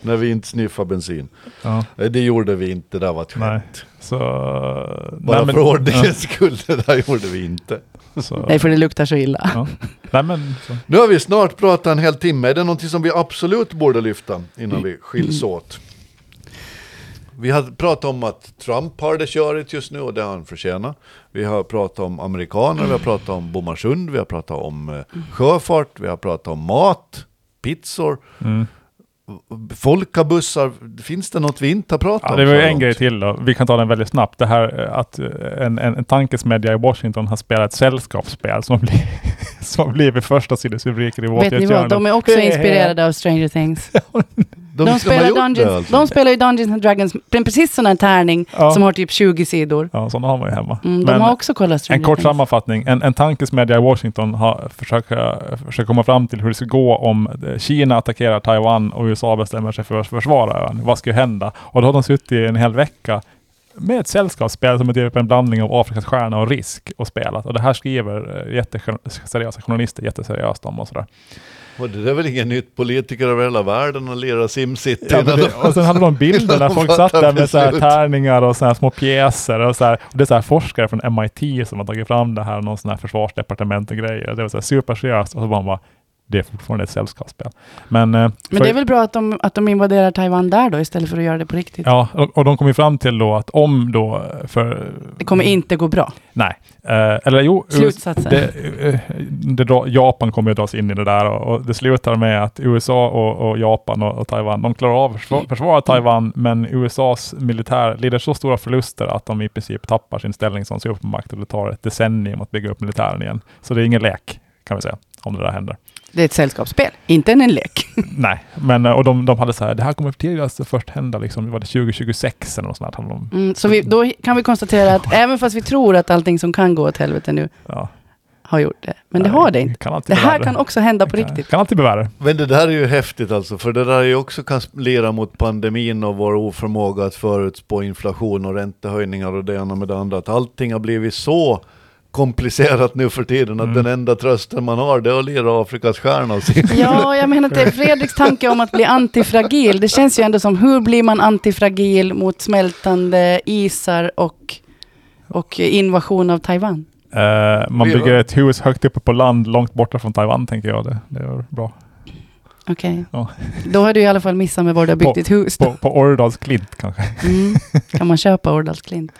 Speaker 2: När vi inte sniffade bensin.
Speaker 3: Ja.
Speaker 2: Nej, Det gjorde vi inte, det där var ett
Speaker 3: Nej.
Speaker 2: skämt.
Speaker 3: Så,
Speaker 2: Bara
Speaker 3: nej, men-
Speaker 2: för ordningens skull, det där gjorde vi inte.
Speaker 3: ja, så,
Speaker 1: Nej, för det luktar så illa.
Speaker 3: ja. nej men, så.
Speaker 2: Nu har vi snart pratat en hel timme. Är det någonting som vi absolut borde lyfta innan vi skiljs
Speaker 3: Mm.
Speaker 2: åt? Vi har pratat om att Trump har det körigt just nu och det har han förtjänat. Vi har pratat om amerikaner, vi har pratat om Bomarsund, vi har pratat om eh, sjöfart, vi har pratat om mat, pizzor,
Speaker 3: Mm.
Speaker 2: folkabussar. Finns det något vi inte har pratat
Speaker 3: Ja,
Speaker 2: om?
Speaker 3: det var ju
Speaker 2: så
Speaker 3: en
Speaker 2: långt?
Speaker 3: grej till då. Vi kan ta den väldigt snabbt. Det här eh, att eh, en, en, en tankesmedja i Washington har spelat ett sällskapsspel som, blir, som blivit första sidesrubriker i
Speaker 1: Vet ni vad, de är också inspirerade av Stranger Things.
Speaker 2: De,
Speaker 1: De
Speaker 2: som har
Speaker 1: spelar,
Speaker 2: gjort det
Speaker 1: Dungeons,
Speaker 2: alltså.
Speaker 1: de spelar ju Dungeons and Dragons, pre- precis sån här tärning
Speaker 3: Ja.
Speaker 1: som har typ 20 sidor.
Speaker 3: Ja, sådana har man ju hemma.
Speaker 1: Mm, de
Speaker 3: Men
Speaker 1: har också kollat Stranger
Speaker 3: en kort
Speaker 1: Things.
Speaker 3: sammanfattning. En, en tankesmedja i Washington har försökt, eh, försökt komma fram till hur det ska gå om eh, Kina attackerar Taiwan och USA bestämmer sig för att försvara ön. Vad ska hända? Och då har de suttit i en hel vecka med ett sällskapsspel som är typ en blandning av Afrikas stjärna och risk och spelat. Och det här skriver eh, jätteseriösa journalister jätteseriöst om och sådär.
Speaker 2: Och det är väl inget nytt? Politiker över hela världen och lirar Simcity.
Speaker 3: Ja, men det, och sen hade de bilder där folk satt där med så här
Speaker 2: Beslut.
Speaker 3: tärningar och så här små pjäser. Och så här, och det är så här forskare från MIT som har tagit fram det här, någon sån här försvarsdepartement och grejer. Det var så här superseriöst. Och så bara, bara det är fortfarande ett sällskapsspel. Men, eh,
Speaker 1: Men
Speaker 3: för-
Speaker 1: det är väl bra att de, att de invaderar Taiwan där då istället för att göra det på riktigt.
Speaker 3: Ja, och, och de kom ju fram till då att om då, för...
Speaker 1: Det kommer inte gå bra.
Speaker 3: Nej. Eh, eller jo, US-
Speaker 1: Slutsatsen.
Speaker 3: det, eh, det dra, Japan kommer ju dras in i det där och, och det slutar med att USA och, och Japan och, och Taiwan, de klarar av att försvara,
Speaker 1: Mm.
Speaker 3: försvara Taiwan, men USAs militär lider så stora förluster att de i princip tappar sin ställning som supermakt och det tar ett decennium att bygga upp militären igen. Så det är ingen lek, kan vi säga, om det där händer.
Speaker 1: Det är ett sällskapsspel, inte en lek.
Speaker 3: Nej, men eh, och de, de hade så här, det här kommer tidigast först hända liksom, det var det 2026 eller något sånt här. hade de-
Speaker 1: Mm, så vi, då kan vi konstatera att även fast vi tror att allting som kan gå åt helvete nu
Speaker 3: Ja,
Speaker 1: har gjort det, men det
Speaker 3: Nej,
Speaker 1: har det inte.
Speaker 3: Kan alltid
Speaker 1: Det
Speaker 3: bli
Speaker 1: här
Speaker 3: värre.
Speaker 1: kan också hända på riktigt.
Speaker 3: Kan alltid bli värre.
Speaker 2: Men det där är ju häftigt alltså, för det där är ju också kan lira mot pandemin och vår oförmåga att förutspå inflation och räntehöjningar och det ena med det andra. Att allting har blivit så komplicerat nu för tiden att
Speaker 3: Mm.
Speaker 2: den enda trösten man har det är att lira Afrikas stjärna och se.
Speaker 1: Ja, jag menar att det är Fredriks tanke om att bli antifragil. Det känns ju ändå som, hur blir man antifragil mot smältande isar och, och invasion av Taiwan?
Speaker 3: Eh, man
Speaker 2: Vi-
Speaker 3: bygger ett hus högt uppe på land, långt borta från Taiwan, tänker jag. Det, det är bra.
Speaker 1: Okej.
Speaker 3: Ja.
Speaker 1: Då har du i alla fall missat med var du har byggt
Speaker 3: På-
Speaker 1: ditt hus. Då.
Speaker 3: På, på Årdals klint kanske.
Speaker 1: Mm. Kan man köpa Årdals Klint?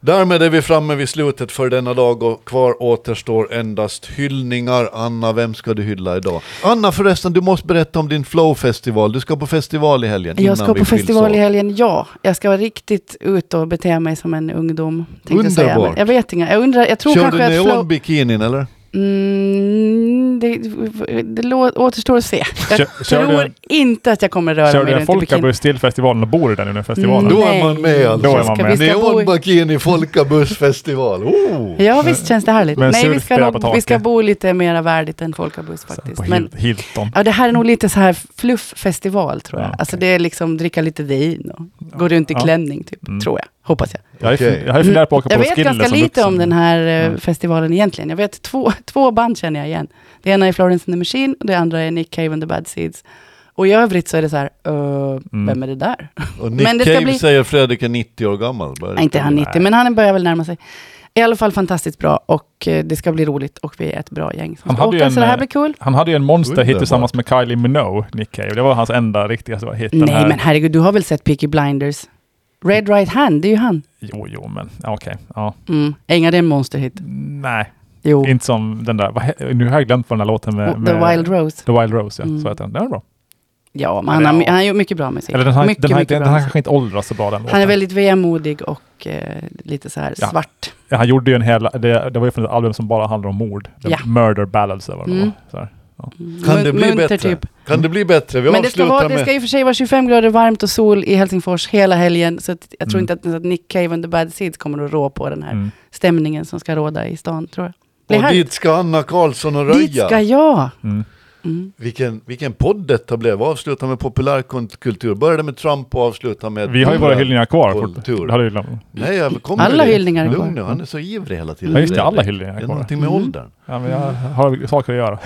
Speaker 2: Därmed är vi framme vid slutet för denna dag och kvar återstår endast hyllningar. Anna, vem ska du hylla idag? Anna förresten, du måste berätta om din Flow-festival. Du ska på festival i helgen. innan
Speaker 1: Jag ska
Speaker 2: vi
Speaker 1: på
Speaker 2: skiljs
Speaker 1: festival
Speaker 2: åt.
Speaker 1: i helgen, ja. Jag ska vara riktigt ute och bete mig som en ungdom. tänkte Jag, säga.
Speaker 2: Underbart.
Speaker 1: Men jag vet inga. Jag undrar, jag tror
Speaker 2: Kör du
Speaker 1: kanske att... Flow...
Speaker 2: neonbikinin eller?
Speaker 1: Mm, det, det lå- återstår att se. Jag
Speaker 3: Kör- kör
Speaker 1: tror
Speaker 3: du-
Speaker 1: inte att jag kommer röra
Speaker 3: Kör
Speaker 1: mig
Speaker 3: du en
Speaker 1: runt i bikini.
Speaker 3: folkabuss till festivalen och bor du där under festivalen?
Speaker 1: Mm.
Speaker 2: Då
Speaker 1: Då
Speaker 2: är
Speaker 1: är Nej.
Speaker 2: man med alltså.
Speaker 3: Då är man
Speaker 1: ska,
Speaker 3: med.
Speaker 1: Vi ska bo i...
Speaker 2: Neonbakini folkabussfestival. Oh.
Speaker 1: Ja, visst känns det härligt.
Speaker 3: Men
Speaker 1: Nej, vi
Speaker 3: surf
Speaker 1: ska,
Speaker 3: spelar
Speaker 1: nog,
Speaker 3: på taket.
Speaker 1: vi ska bo lite mer värdigt än folkabuss
Speaker 3: Så här
Speaker 1: faktiskt.
Speaker 3: På
Speaker 1: Men,
Speaker 3: Hil- Hilton.
Speaker 1: ja, det här är nog lite så här flufffestival tror jag.
Speaker 3: Ja,
Speaker 1: Alltså det
Speaker 3: okej.
Speaker 1: är liksom dricka lite vin och gå runt i
Speaker 3: Ja.
Speaker 1: klänning typ,
Speaker 3: Mm.
Speaker 1: tror jag. Hoppas jag. Mm.
Speaker 3: Jag har ju
Speaker 2: Okej.
Speaker 3: fun- jag har ju funderat på att åka
Speaker 1: Jag
Speaker 3: på
Speaker 1: vet
Speaker 3: Roskilde
Speaker 1: ganska
Speaker 3: som
Speaker 1: lite
Speaker 3: vuxen.
Speaker 1: om den här eh,
Speaker 3: Mm.
Speaker 1: festivalen egentligen. Jag vet två, två band känner jag igen. Det ena är Florence and the Machine och det andra är Nick Cave and the Bad Seeds. Och i övrigt så är det så här, eh,
Speaker 3: Mm.
Speaker 1: vem är det där?
Speaker 2: Och Nick
Speaker 1: Men det ska
Speaker 2: Cave
Speaker 1: bli-
Speaker 2: säger Fredrik är 90 år gammal. Börjar-
Speaker 1: Nej, inte han 90, men han börjar väl närma sig. I alla fall fantastiskt bra och eh, det ska bli roligt och vi är ett bra gäng som
Speaker 3: Han
Speaker 1: ska
Speaker 3: hade ju
Speaker 1: åka,
Speaker 3: en,
Speaker 1: så det här
Speaker 3: eh,
Speaker 1: blir kul.
Speaker 3: Han hade ju en monsterhit
Speaker 2: Underbart.
Speaker 3: tillsammans med Kylie Minogue, Nick Cave. Det var hans enda riktiga stora hit. den
Speaker 1: Nej
Speaker 3: här-
Speaker 1: men herregud, du har väl sett Peaky Blinders? Red Right Hand, det är ju han.
Speaker 3: Jo, jo, men ja, okej. Ja.
Speaker 1: Mm. Är inga det en monsterhit?
Speaker 3: Nej,
Speaker 1: Jo.
Speaker 3: inte som den där. vad he- Nu har jag glömt vad den där låten med...
Speaker 1: Och The
Speaker 3: med
Speaker 1: Wild Rose.
Speaker 3: The Wild Rose, ja.
Speaker 1: Mm.
Speaker 3: Så heter den. Den var bra.
Speaker 1: Ja, men han har, han har gjort mycket bra musik.
Speaker 3: Eller den har,
Speaker 1: mycket,
Speaker 3: den har,
Speaker 1: mycket
Speaker 3: den
Speaker 1: bra
Speaker 3: har
Speaker 1: musik.
Speaker 3: kanske inte åldrats så bra den
Speaker 1: Han är
Speaker 3: låten.
Speaker 1: väldigt vemodig och eh, lite så här
Speaker 3: Ja.
Speaker 1: svart.
Speaker 3: Ja, Han gjorde ju en hel... Det, det var ju från ett album som bara handlade om mord. The
Speaker 1: Ja.
Speaker 3: Murder Ballads eller vad det
Speaker 1: Mm.
Speaker 3: var. Så här.
Speaker 1: Mm.
Speaker 2: Kan det bli
Speaker 1: Munter
Speaker 2: bättre? Kan det bli bättre? Vi
Speaker 1: Men det ska,
Speaker 2: avslutar
Speaker 1: vara, det
Speaker 2: med...
Speaker 1: ska i och för sig vara 25 grader varmt och sol i Helsingfors hela helgen. Så att jag tror
Speaker 3: Mm.
Speaker 1: inte att, att Nick Cave and the Bad Seeds kommer att rå på den här
Speaker 3: Mm.
Speaker 1: stämningen som ska råda i stan, tror jag. Blir
Speaker 2: Och
Speaker 1: härligt.
Speaker 2: dit ska Anna Karlsson och
Speaker 1: Dit
Speaker 2: röja.
Speaker 1: ska jag!
Speaker 3: Mm.
Speaker 1: Mm.
Speaker 2: Vilken, vilken podd detta blev. Avsluta med populärkultur. Började med Trump och avsluta med...
Speaker 3: Vi har ju våra hyllningar kvar.
Speaker 2: Vår
Speaker 3: fort-
Speaker 2: tur.
Speaker 3: Det hade vi glömt.
Speaker 2: Nej, jag kommer
Speaker 1: Alla
Speaker 2: till det.
Speaker 1: hyllningar är
Speaker 2: Lugn nu,
Speaker 1: kvar.
Speaker 2: han är så ivrig hela tiden.
Speaker 3: Ja, just det. Alla
Speaker 2: Det
Speaker 3: hyllningar
Speaker 2: är
Speaker 3: är kvar.
Speaker 2: någonting med
Speaker 1: Mm.
Speaker 2: åldern.
Speaker 3: Ja, men jag har saker att göra.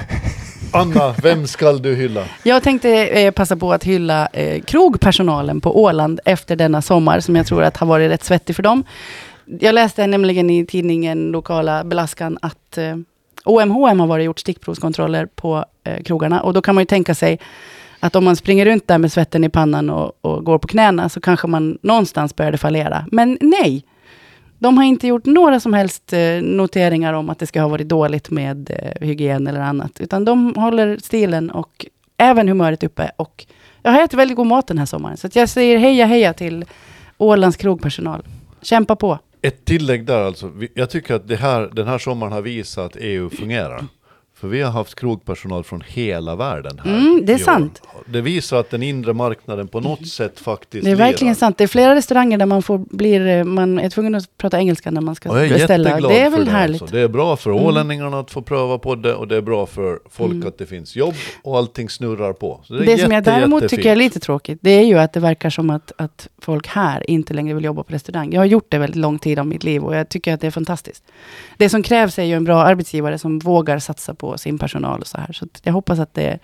Speaker 2: Anna, vem skall du hylla?
Speaker 1: Jag tänkte eh, passa på att hylla eh, krogpersonalen på Åland efter denna sommar som jag tror att har varit rätt svettig för dem. Jag läste nämligen i tidningen Lokala Belaskan att eh, OMHM har varit och gjort stickprovskontroller på eh, krogarna och då kan man ju tänka sig att om man springer runt där med svetten i pannan och, och går på knäna så kanske man någonstans började fallera. Men nej, de har inte gjort några som helst eh, noteringar om att det ska ha varit dåligt med eh, hygien eller annat, utan de håller stilen och även humöret uppe. Och jag har ätit väldigt god mat den här sommaren, så att jag säger heja heja till Ålands krogpersonal. Kämpa på.
Speaker 2: Ett tillägg där alltså. Vi- Jag tycker att det här, den här sommaren har visat att EU fungerar. För vi har haft krogpersonal från hela världen här.
Speaker 1: Mm, det är
Speaker 2: i år.
Speaker 1: sant.
Speaker 2: Det visar att den inre marknaden på något sätt faktiskt
Speaker 1: Det är verkligen
Speaker 2: lirar.
Speaker 1: sant. Det är flera restauranger där man, får, blir, eh, man är tvungen att prata engelska när man ska
Speaker 2: Och jag är
Speaker 1: beställa.
Speaker 2: jätteglad
Speaker 1: Det är
Speaker 2: för
Speaker 1: väl
Speaker 2: det,
Speaker 1: härligt.
Speaker 2: Alltså. Det är bra för
Speaker 1: Mm.
Speaker 2: ålänningarna att få pröva på det och det är bra för folk
Speaker 1: Mm.
Speaker 2: att det finns jobb och allting snurrar på. Så
Speaker 1: Det,
Speaker 2: är
Speaker 1: som jag
Speaker 2: jätte,
Speaker 1: däremot tycker är
Speaker 2: jättefint.
Speaker 1: lite tråkigt, det är ju att det verkar som att, att folk här inte längre vill jobba på restaurang. Jag har gjort det väldigt lång tid av mitt liv och jag tycker att det är fantastiskt. Det som krävs är ju en bra arbetsgivare som vågar satsa på sin personal och så här. Så att jag hoppas att det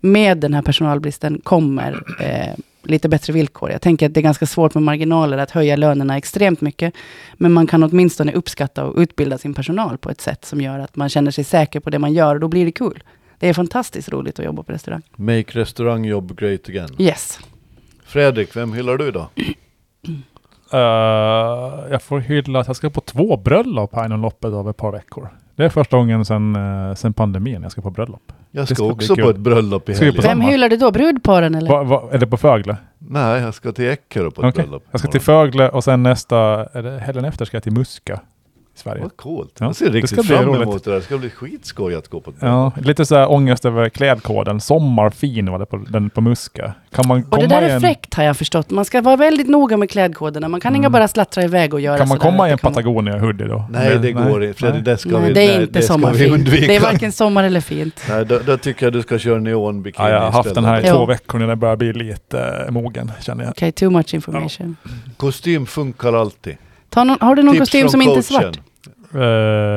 Speaker 1: med den här personalbristen kommer eh, lite bättre villkor. Jag tänker att det är ganska svårt med marginaler att höja lönerna extremt mycket. Men man kan åtminstone uppskatta och utbilda sin personal på ett sätt som gör att man känner sig säker på det man gör och då blir det kul. Det är fantastiskt roligt att jobba på restaurang.
Speaker 2: Make restaurangjobb great again.
Speaker 1: Yes.
Speaker 2: Fredrik, vem hyllar du då?
Speaker 3: Eh, jag får hylla att jag ska på två bröllop här inom loppet av ett par veckor. Det är första gången sedan eh, sedan pandemin jag ska på bröllop.
Speaker 2: Jag
Speaker 3: Det
Speaker 2: ska,
Speaker 3: ska bli
Speaker 2: också
Speaker 3: kul.
Speaker 2: på ett bröllop i
Speaker 3: Ska vi på
Speaker 2: helgen.
Speaker 1: Vem
Speaker 3: sommar.
Speaker 1: hyllar du då? Brudparen eller?
Speaker 3: Va, va, är det på Fögle?
Speaker 2: Nej, jag ska till Eckerö på ett
Speaker 3: Okej.
Speaker 2: bröllop.
Speaker 3: Jag ska till Fögle och sen nästa, är det, helgen efter ska jag till Muska i Sverige.
Speaker 2: Vad coolt.
Speaker 3: Ja,
Speaker 2: Jag ser
Speaker 3: det ska
Speaker 2: riktigt
Speaker 3: bli
Speaker 2: fram
Speaker 3: roligt.
Speaker 2: emot det där. Det ska bli skitskoj att gå på ett
Speaker 3: Ja,
Speaker 2: bröllop.
Speaker 3: lite så här ångest över klädkoden. Sommarfin var det på, den på Muska. Kan man
Speaker 1: Och
Speaker 3: komma
Speaker 1: det där
Speaker 3: i
Speaker 1: är
Speaker 3: en,
Speaker 1: fräckt har jag förstått. Man ska vara väldigt noga med klädkoderna. Man kan
Speaker 3: Mm.
Speaker 1: inte bara slattra iväg och göra
Speaker 3: Kan man
Speaker 1: sådär
Speaker 3: komma
Speaker 1: att
Speaker 3: i en
Speaker 1: Alltså, det kommer-
Speaker 3: Patagonia-hoodie då?
Speaker 2: Nej, det går inte. Fredrik, det ska vi,
Speaker 1: Nej, det är
Speaker 2: nej,
Speaker 1: inte
Speaker 2: det ska vi
Speaker 1: sommarfint.
Speaker 2: undvika.
Speaker 1: Det är varken sommar eller fint.
Speaker 2: Nej, då, då tycker jag du ska köra neonbikini
Speaker 3: Ja, jag har haft den här i
Speaker 1: Ja.
Speaker 3: två veckor nu. Den börjar bli lite eh, mogen känner jag.
Speaker 1: Okej, too much information.
Speaker 2: Kostym funkar alltid.
Speaker 1: Ta någon, har du någon
Speaker 2: Tips
Speaker 1: kostym
Speaker 2: från
Speaker 1: som inte är
Speaker 2: coachen.
Speaker 1: svart?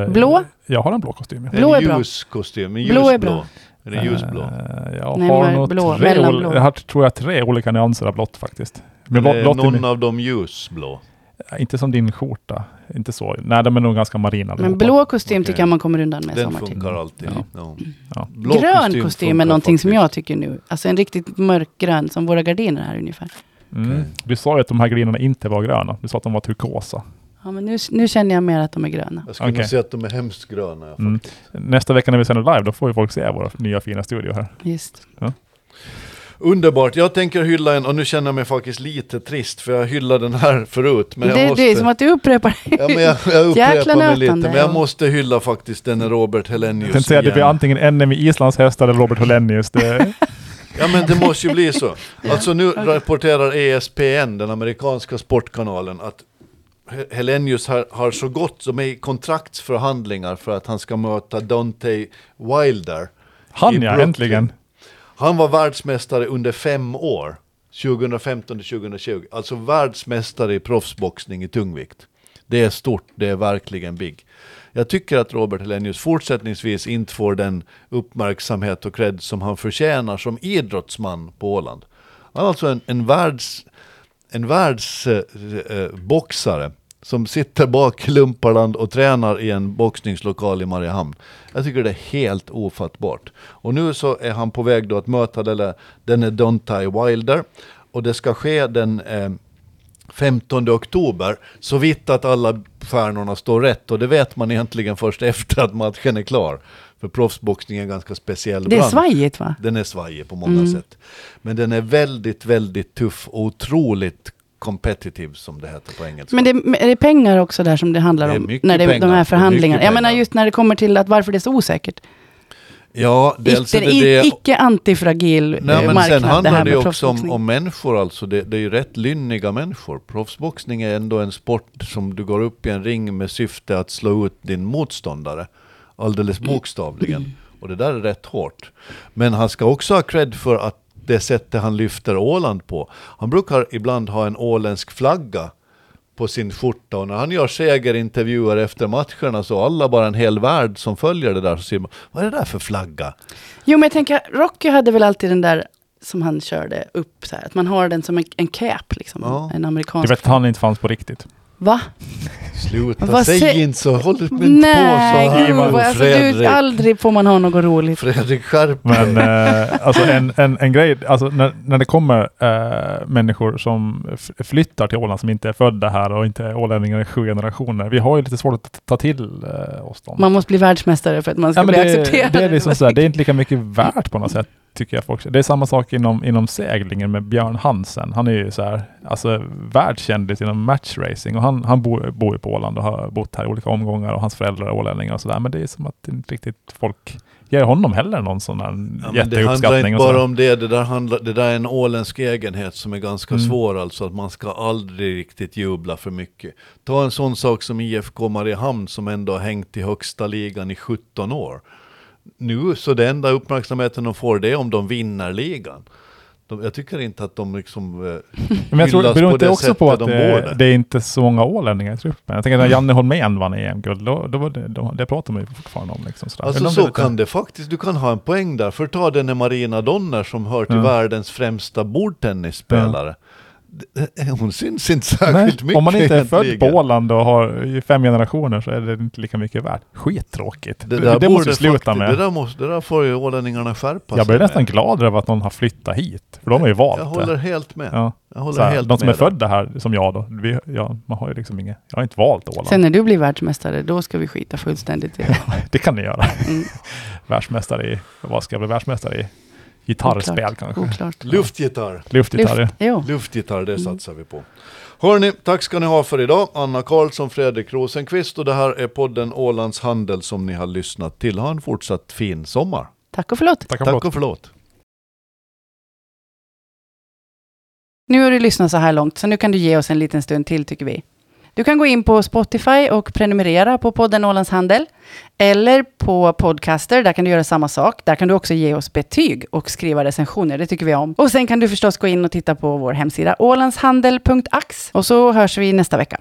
Speaker 3: Eh,
Speaker 1: Blå?
Speaker 3: Jag har en blå kostym. ja.
Speaker 1: Blå är
Speaker 2: en
Speaker 1: bra.
Speaker 2: ljus kostym, en
Speaker 1: Blå är
Speaker 2: ljusblå.
Speaker 1: bra.
Speaker 2: Är det ljusblå?
Speaker 3: Eh, Jag
Speaker 1: Nej,
Speaker 3: har
Speaker 1: men
Speaker 3: nog
Speaker 1: blå,
Speaker 3: tre
Speaker 1: mellanblå.
Speaker 3: ol- jag har, tror jag, tre olika nyanser av blått faktiskt. Men blå,
Speaker 2: Eller är
Speaker 3: blått är
Speaker 2: någon
Speaker 3: min,
Speaker 2: av dem ljusblå?
Speaker 3: inte som din skjorta. Inte så. Nej, de är nog ganska marina
Speaker 1: Men
Speaker 3: allihopa.
Speaker 1: blå kostym
Speaker 2: Okej.
Speaker 1: tycker jag man kommer undan med
Speaker 2: Den
Speaker 1: sommartid.
Speaker 2: funkar alltid.
Speaker 3: Ja.
Speaker 2: Ja.
Speaker 3: Ja.
Speaker 2: Blå
Speaker 1: grön kostym
Speaker 2: funkar
Speaker 1: är någonting som
Speaker 2: faktiskt.
Speaker 1: jag tycker nu. Alltså en riktigt mörkgrön, som våra gardiner här ungefär.
Speaker 3: Mm.
Speaker 2: Okej.
Speaker 3: Du sa ju att de här grinerna inte var gröna. Du sa att de var turkosa.
Speaker 1: Ja, men nu, nu känner jag mer att de är gröna.
Speaker 2: Jag skulle nog
Speaker 3: Okej.
Speaker 2: säga att de är hemskt gröna. ja,
Speaker 3: Mm.
Speaker 2: faktiskt.
Speaker 3: Nästa vecka när vi sänder live, då får ju folk se våra nya fina studio här.
Speaker 1: Just.
Speaker 2: Underbart. Jag tänker hylla en, och nu känner jag mig faktiskt lite trist, för jag hyllade den här förut. Men jag
Speaker 1: det,
Speaker 2: måste...
Speaker 1: det är som att du upprepar
Speaker 2: Ja, men jag, jag upprepar mig lite,
Speaker 1: nötande,
Speaker 2: men jag
Speaker 1: ja.
Speaker 2: måste hylla faktiskt denne Robert Hellenius
Speaker 3: Jag tänkte säga att det blir antingen NM i Islands hästar eller Robert Hellenius. Det,
Speaker 2: Ja men det måste ju bli så. Alltså nu rapporterar E ESPN, den amerikanska sportkanalen, att He- Hellenius har, har så gott som är i kontraktsförhandlingar för att han ska möta Dante Wilder.
Speaker 3: han
Speaker 2: I
Speaker 3: ja,
Speaker 2: Brooklyn.
Speaker 3: äntligen.
Speaker 2: Han var världsmästare under fem år, 2015 till 2020. Alltså världsmästare i proffsboxning i tungvikt. Det är stort, det är verkligen big. Jag tycker att Robert Hellenius fortsättningsvis inte får den uppmärksamhet och cred som han förtjänar som idrottsman på Åland. Han är alltså en, en världs en världsboxare eh, boxare som sitter bak Lumparland och tränar i en boxningslokal i Mariehamn. Jag tycker det är helt ofattbart. Och nu så är han på väg då att möta denne- denne Dontai Wilder. Och det ska ske den eh, 15 oktober, så vitt att alla stjärnorna står rätt. Och det vet man egentligen först efter att matchen är klar. För proffsboxning är en ganska speciell
Speaker 1: Det är
Speaker 2: bransch.
Speaker 1: svajigt va?
Speaker 2: Den är svajig på
Speaker 1: Mm.
Speaker 2: många sätt. Men den är väldigt, väldigt tuff och otroligt competitive som det heter på engelska.
Speaker 1: Men det, men är det pengar också där som det handlar
Speaker 2: Det är
Speaker 1: om?
Speaker 2: mycket
Speaker 1: när det, de
Speaker 2: pengar, det är
Speaker 1: här
Speaker 2: mycket
Speaker 1: förhandlingarna. Jag menar
Speaker 2: pengar.
Speaker 1: just när det kommer till att varför det är så osäkert.
Speaker 2: ja, dels är
Speaker 1: Icke,
Speaker 2: det det.
Speaker 1: icke antifragil eh,
Speaker 2: Nej, men
Speaker 1: marknad
Speaker 2: sen
Speaker 1: det
Speaker 2: handlar
Speaker 1: här
Speaker 2: det
Speaker 1: med
Speaker 2: ju också om,
Speaker 1: proffsboxning.
Speaker 2: om människor, alltså det, det är ju rätt lynniga människor. Proffsboxning är ändå en sport som du går upp i en ring med syfte att slå ut din motståndare. Alldeles
Speaker 1: Mm.
Speaker 2: bokstavligen. Och det där är rätt hårt. Men han ska också ha cred för att det sättet han lyfter Åland på. Han brukar ibland ha en åländsk flagga på sin skjorta och när han gör segerintervjuer efter matcherna så alla bara en hel värld som följer det där så säger man, vad är det där för flagga?
Speaker 1: Jo, men jag tänker, Rocky hade väl alltid den där som han körde upp så här. Att man har den som en, en cap, liksom.
Speaker 2: Ja.
Speaker 1: En
Speaker 3: Det
Speaker 1: amerikansk.
Speaker 3: vet han inte fanns på riktigt.
Speaker 1: Va?
Speaker 2: Sluta,
Speaker 1: Vad
Speaker 2: säg
Speaker 1: sä-
Speaker 2: inte så. Håll inte
Speaker 1: Nej,
Speaker 2: på så
Speaker 1: gud,
Speaker 2: här.
Speaker 1: vad- alltså, du,
Speaker 2: Fredrik,
Speaker 1: aldrig får man ha något roligt.
Speaker 2: Fredrik skärp dig.
Speaker 3: Men eh, alltså en, en, en grej, alltså när, när det kommer eh, människor som f- flyttar till Åland som inte är födda här och inte är ålänningar i sju generationer. Vi har ju lite svårt att ta till eh, oss dem.
Speaker 1: Man måste bli världsmästare för att man ska
Speaker 3: Ja, men
Speaker 1: bli
Speaker 3: det,
Speaker 1: accepterad.
Speaker 3: det, är liksom så här, det är inte lika mycket värt på något sätt, tycker jag. Folk. Det är samma sak inom, inom seglingen med Björn Hansen. Han är ju så här, alltså, världskändis inom matchracing och han, han bor, bor ju på Åland och har bott här i olika omgångar och hans föräldrar är ålänningar och sådär. Men det är som att det inte riktigt folk ger honom heller någon sån här
Speaker 2: Ja, men det handlar
Speaker 3: jätteuppskattning.
Speaker 2: inte
Speaker 3: Och så.
Speaker 2: bara om det, det där, handlar, det där är en åländsk egenhet som är ganska
Speaker 3: Mm.
Speaker 2: svår, alltså att man ska aldrig riktigt jubla för mycket. Ta en sån sak som IFK Mariehamn som ändå har hängt i högsta ligan i 17 år. Nu, så den enda uppmärksamheten de får det är om de vinner ligan. De, jag tycker inte att de liksom... eh,
Speaker 3: Men jag tror det
Speaker 2: hyllas
Speaker 3: beror
Speaker 2: på
Speaker 3: inte
Speaker 2: det
Speaker 3: också
Speaker 2: sättet
Speaker 3: på att
Speaker 2: de
Speaker 3: det,
Speaker 2: bor där.
Speaker 3: det är inte så många ålänningar i truppen. Jag tänker när Janne Holmén vann EM-guld, då, då var det, då, det pratar man ju fortfarande om. Liksom, sådär.
Speaker 2: Alltså
Speaker 3: Men de
Speaker 2: så
Speaker 3: är lite-
Speaker 2: kan det faktiskt, du kan ha en poäng där. För ta den här Marina Donner som hör till
Speaker 3: Ja.
Speaker 2: världens främsta bordtennisspelare. Det- Hon syns inte särskilt
Speaker 3: Nej,
Speaker 2: mycket.
Speaker 3: om man inte är född på
Speaker 2: egentligen.
Speaker 3: Åland och har i fem generationer så är det inte lika mycket värt. Skittråkigt.
Speaker 2: Det där,
Speaker 3: borde du
Speaker 2: faktiskt-
Speaker 3: sluta
Speaker 2: Det
Speaker 3: med.
Speaker 2: där, måste, det där får ju ålänningarna skärpa
Speaker 3: Jag blir
Speaker 2: sig
Speaker 3: nästan
Speaker 2: med.
Speaker 3: glad över att någon har flyttat hit, för de har ju
Speaker 2: Jag
Speaker 3: valt
Speaker 2: håller
Speaker 3: det.
Speaker 2: helt med.
Speaker 3: Ja.
Speaker 2: Jag håller
Speaker 3: Så här,
Speaker 2: helt
Speaker 3: de som är
Speaker 2: med där.
Speaker 3: födda här, som jag då, vi, ja, man har ju liksom inget, jag har inte valt Åland.
Speaker 1: Sen när du blir världsmästare, då ska vi skita fullständigt i det.
Speaker 3: Det kan ni göra.
Speaker 1: Mm.
Speaker 3: världsmästare i, vad ska jag bli världsmästare i? Gitarrspel
Speaker 1: Oklart.
Speaker 3: kanske?
Speaker 1: Oklart.
Speaker 2: Luftgitarr.
Speaker 3: Luftgitarr. ja.
Speaker 1: Jo.
Speaker 2: Luftgitarr, det satsar vi på. Hörni, tack ska ni ha för idag. Anna Karlsson, Fredrik Rosenqvist och det här är podden Ålands Handel som ni har lyssnat till. Ha en fortsatt fin sommar.
Speaker 1: Tack och förlåt.
Speaker 3: Tack och
Speaker 2: Tack
Speaker 3: förlåt.
Speaker 2: och förlåt.
Speaker 1: Nu har du lyssnat så här långt, så nu kan du ge oss en liten stund till tycker vi. Du kan gå in på Spotify och prenumerera på podden Ålands Handel. Eller på Podcaster, där kan du göra samma sak. Där kan du också ge oss betyg och skriva recensioner, det tycker vi om. Och sen kan du förstås gå in och titta på vår hemsida ålandshandel.ax. Och så hörs vi nästa vecka.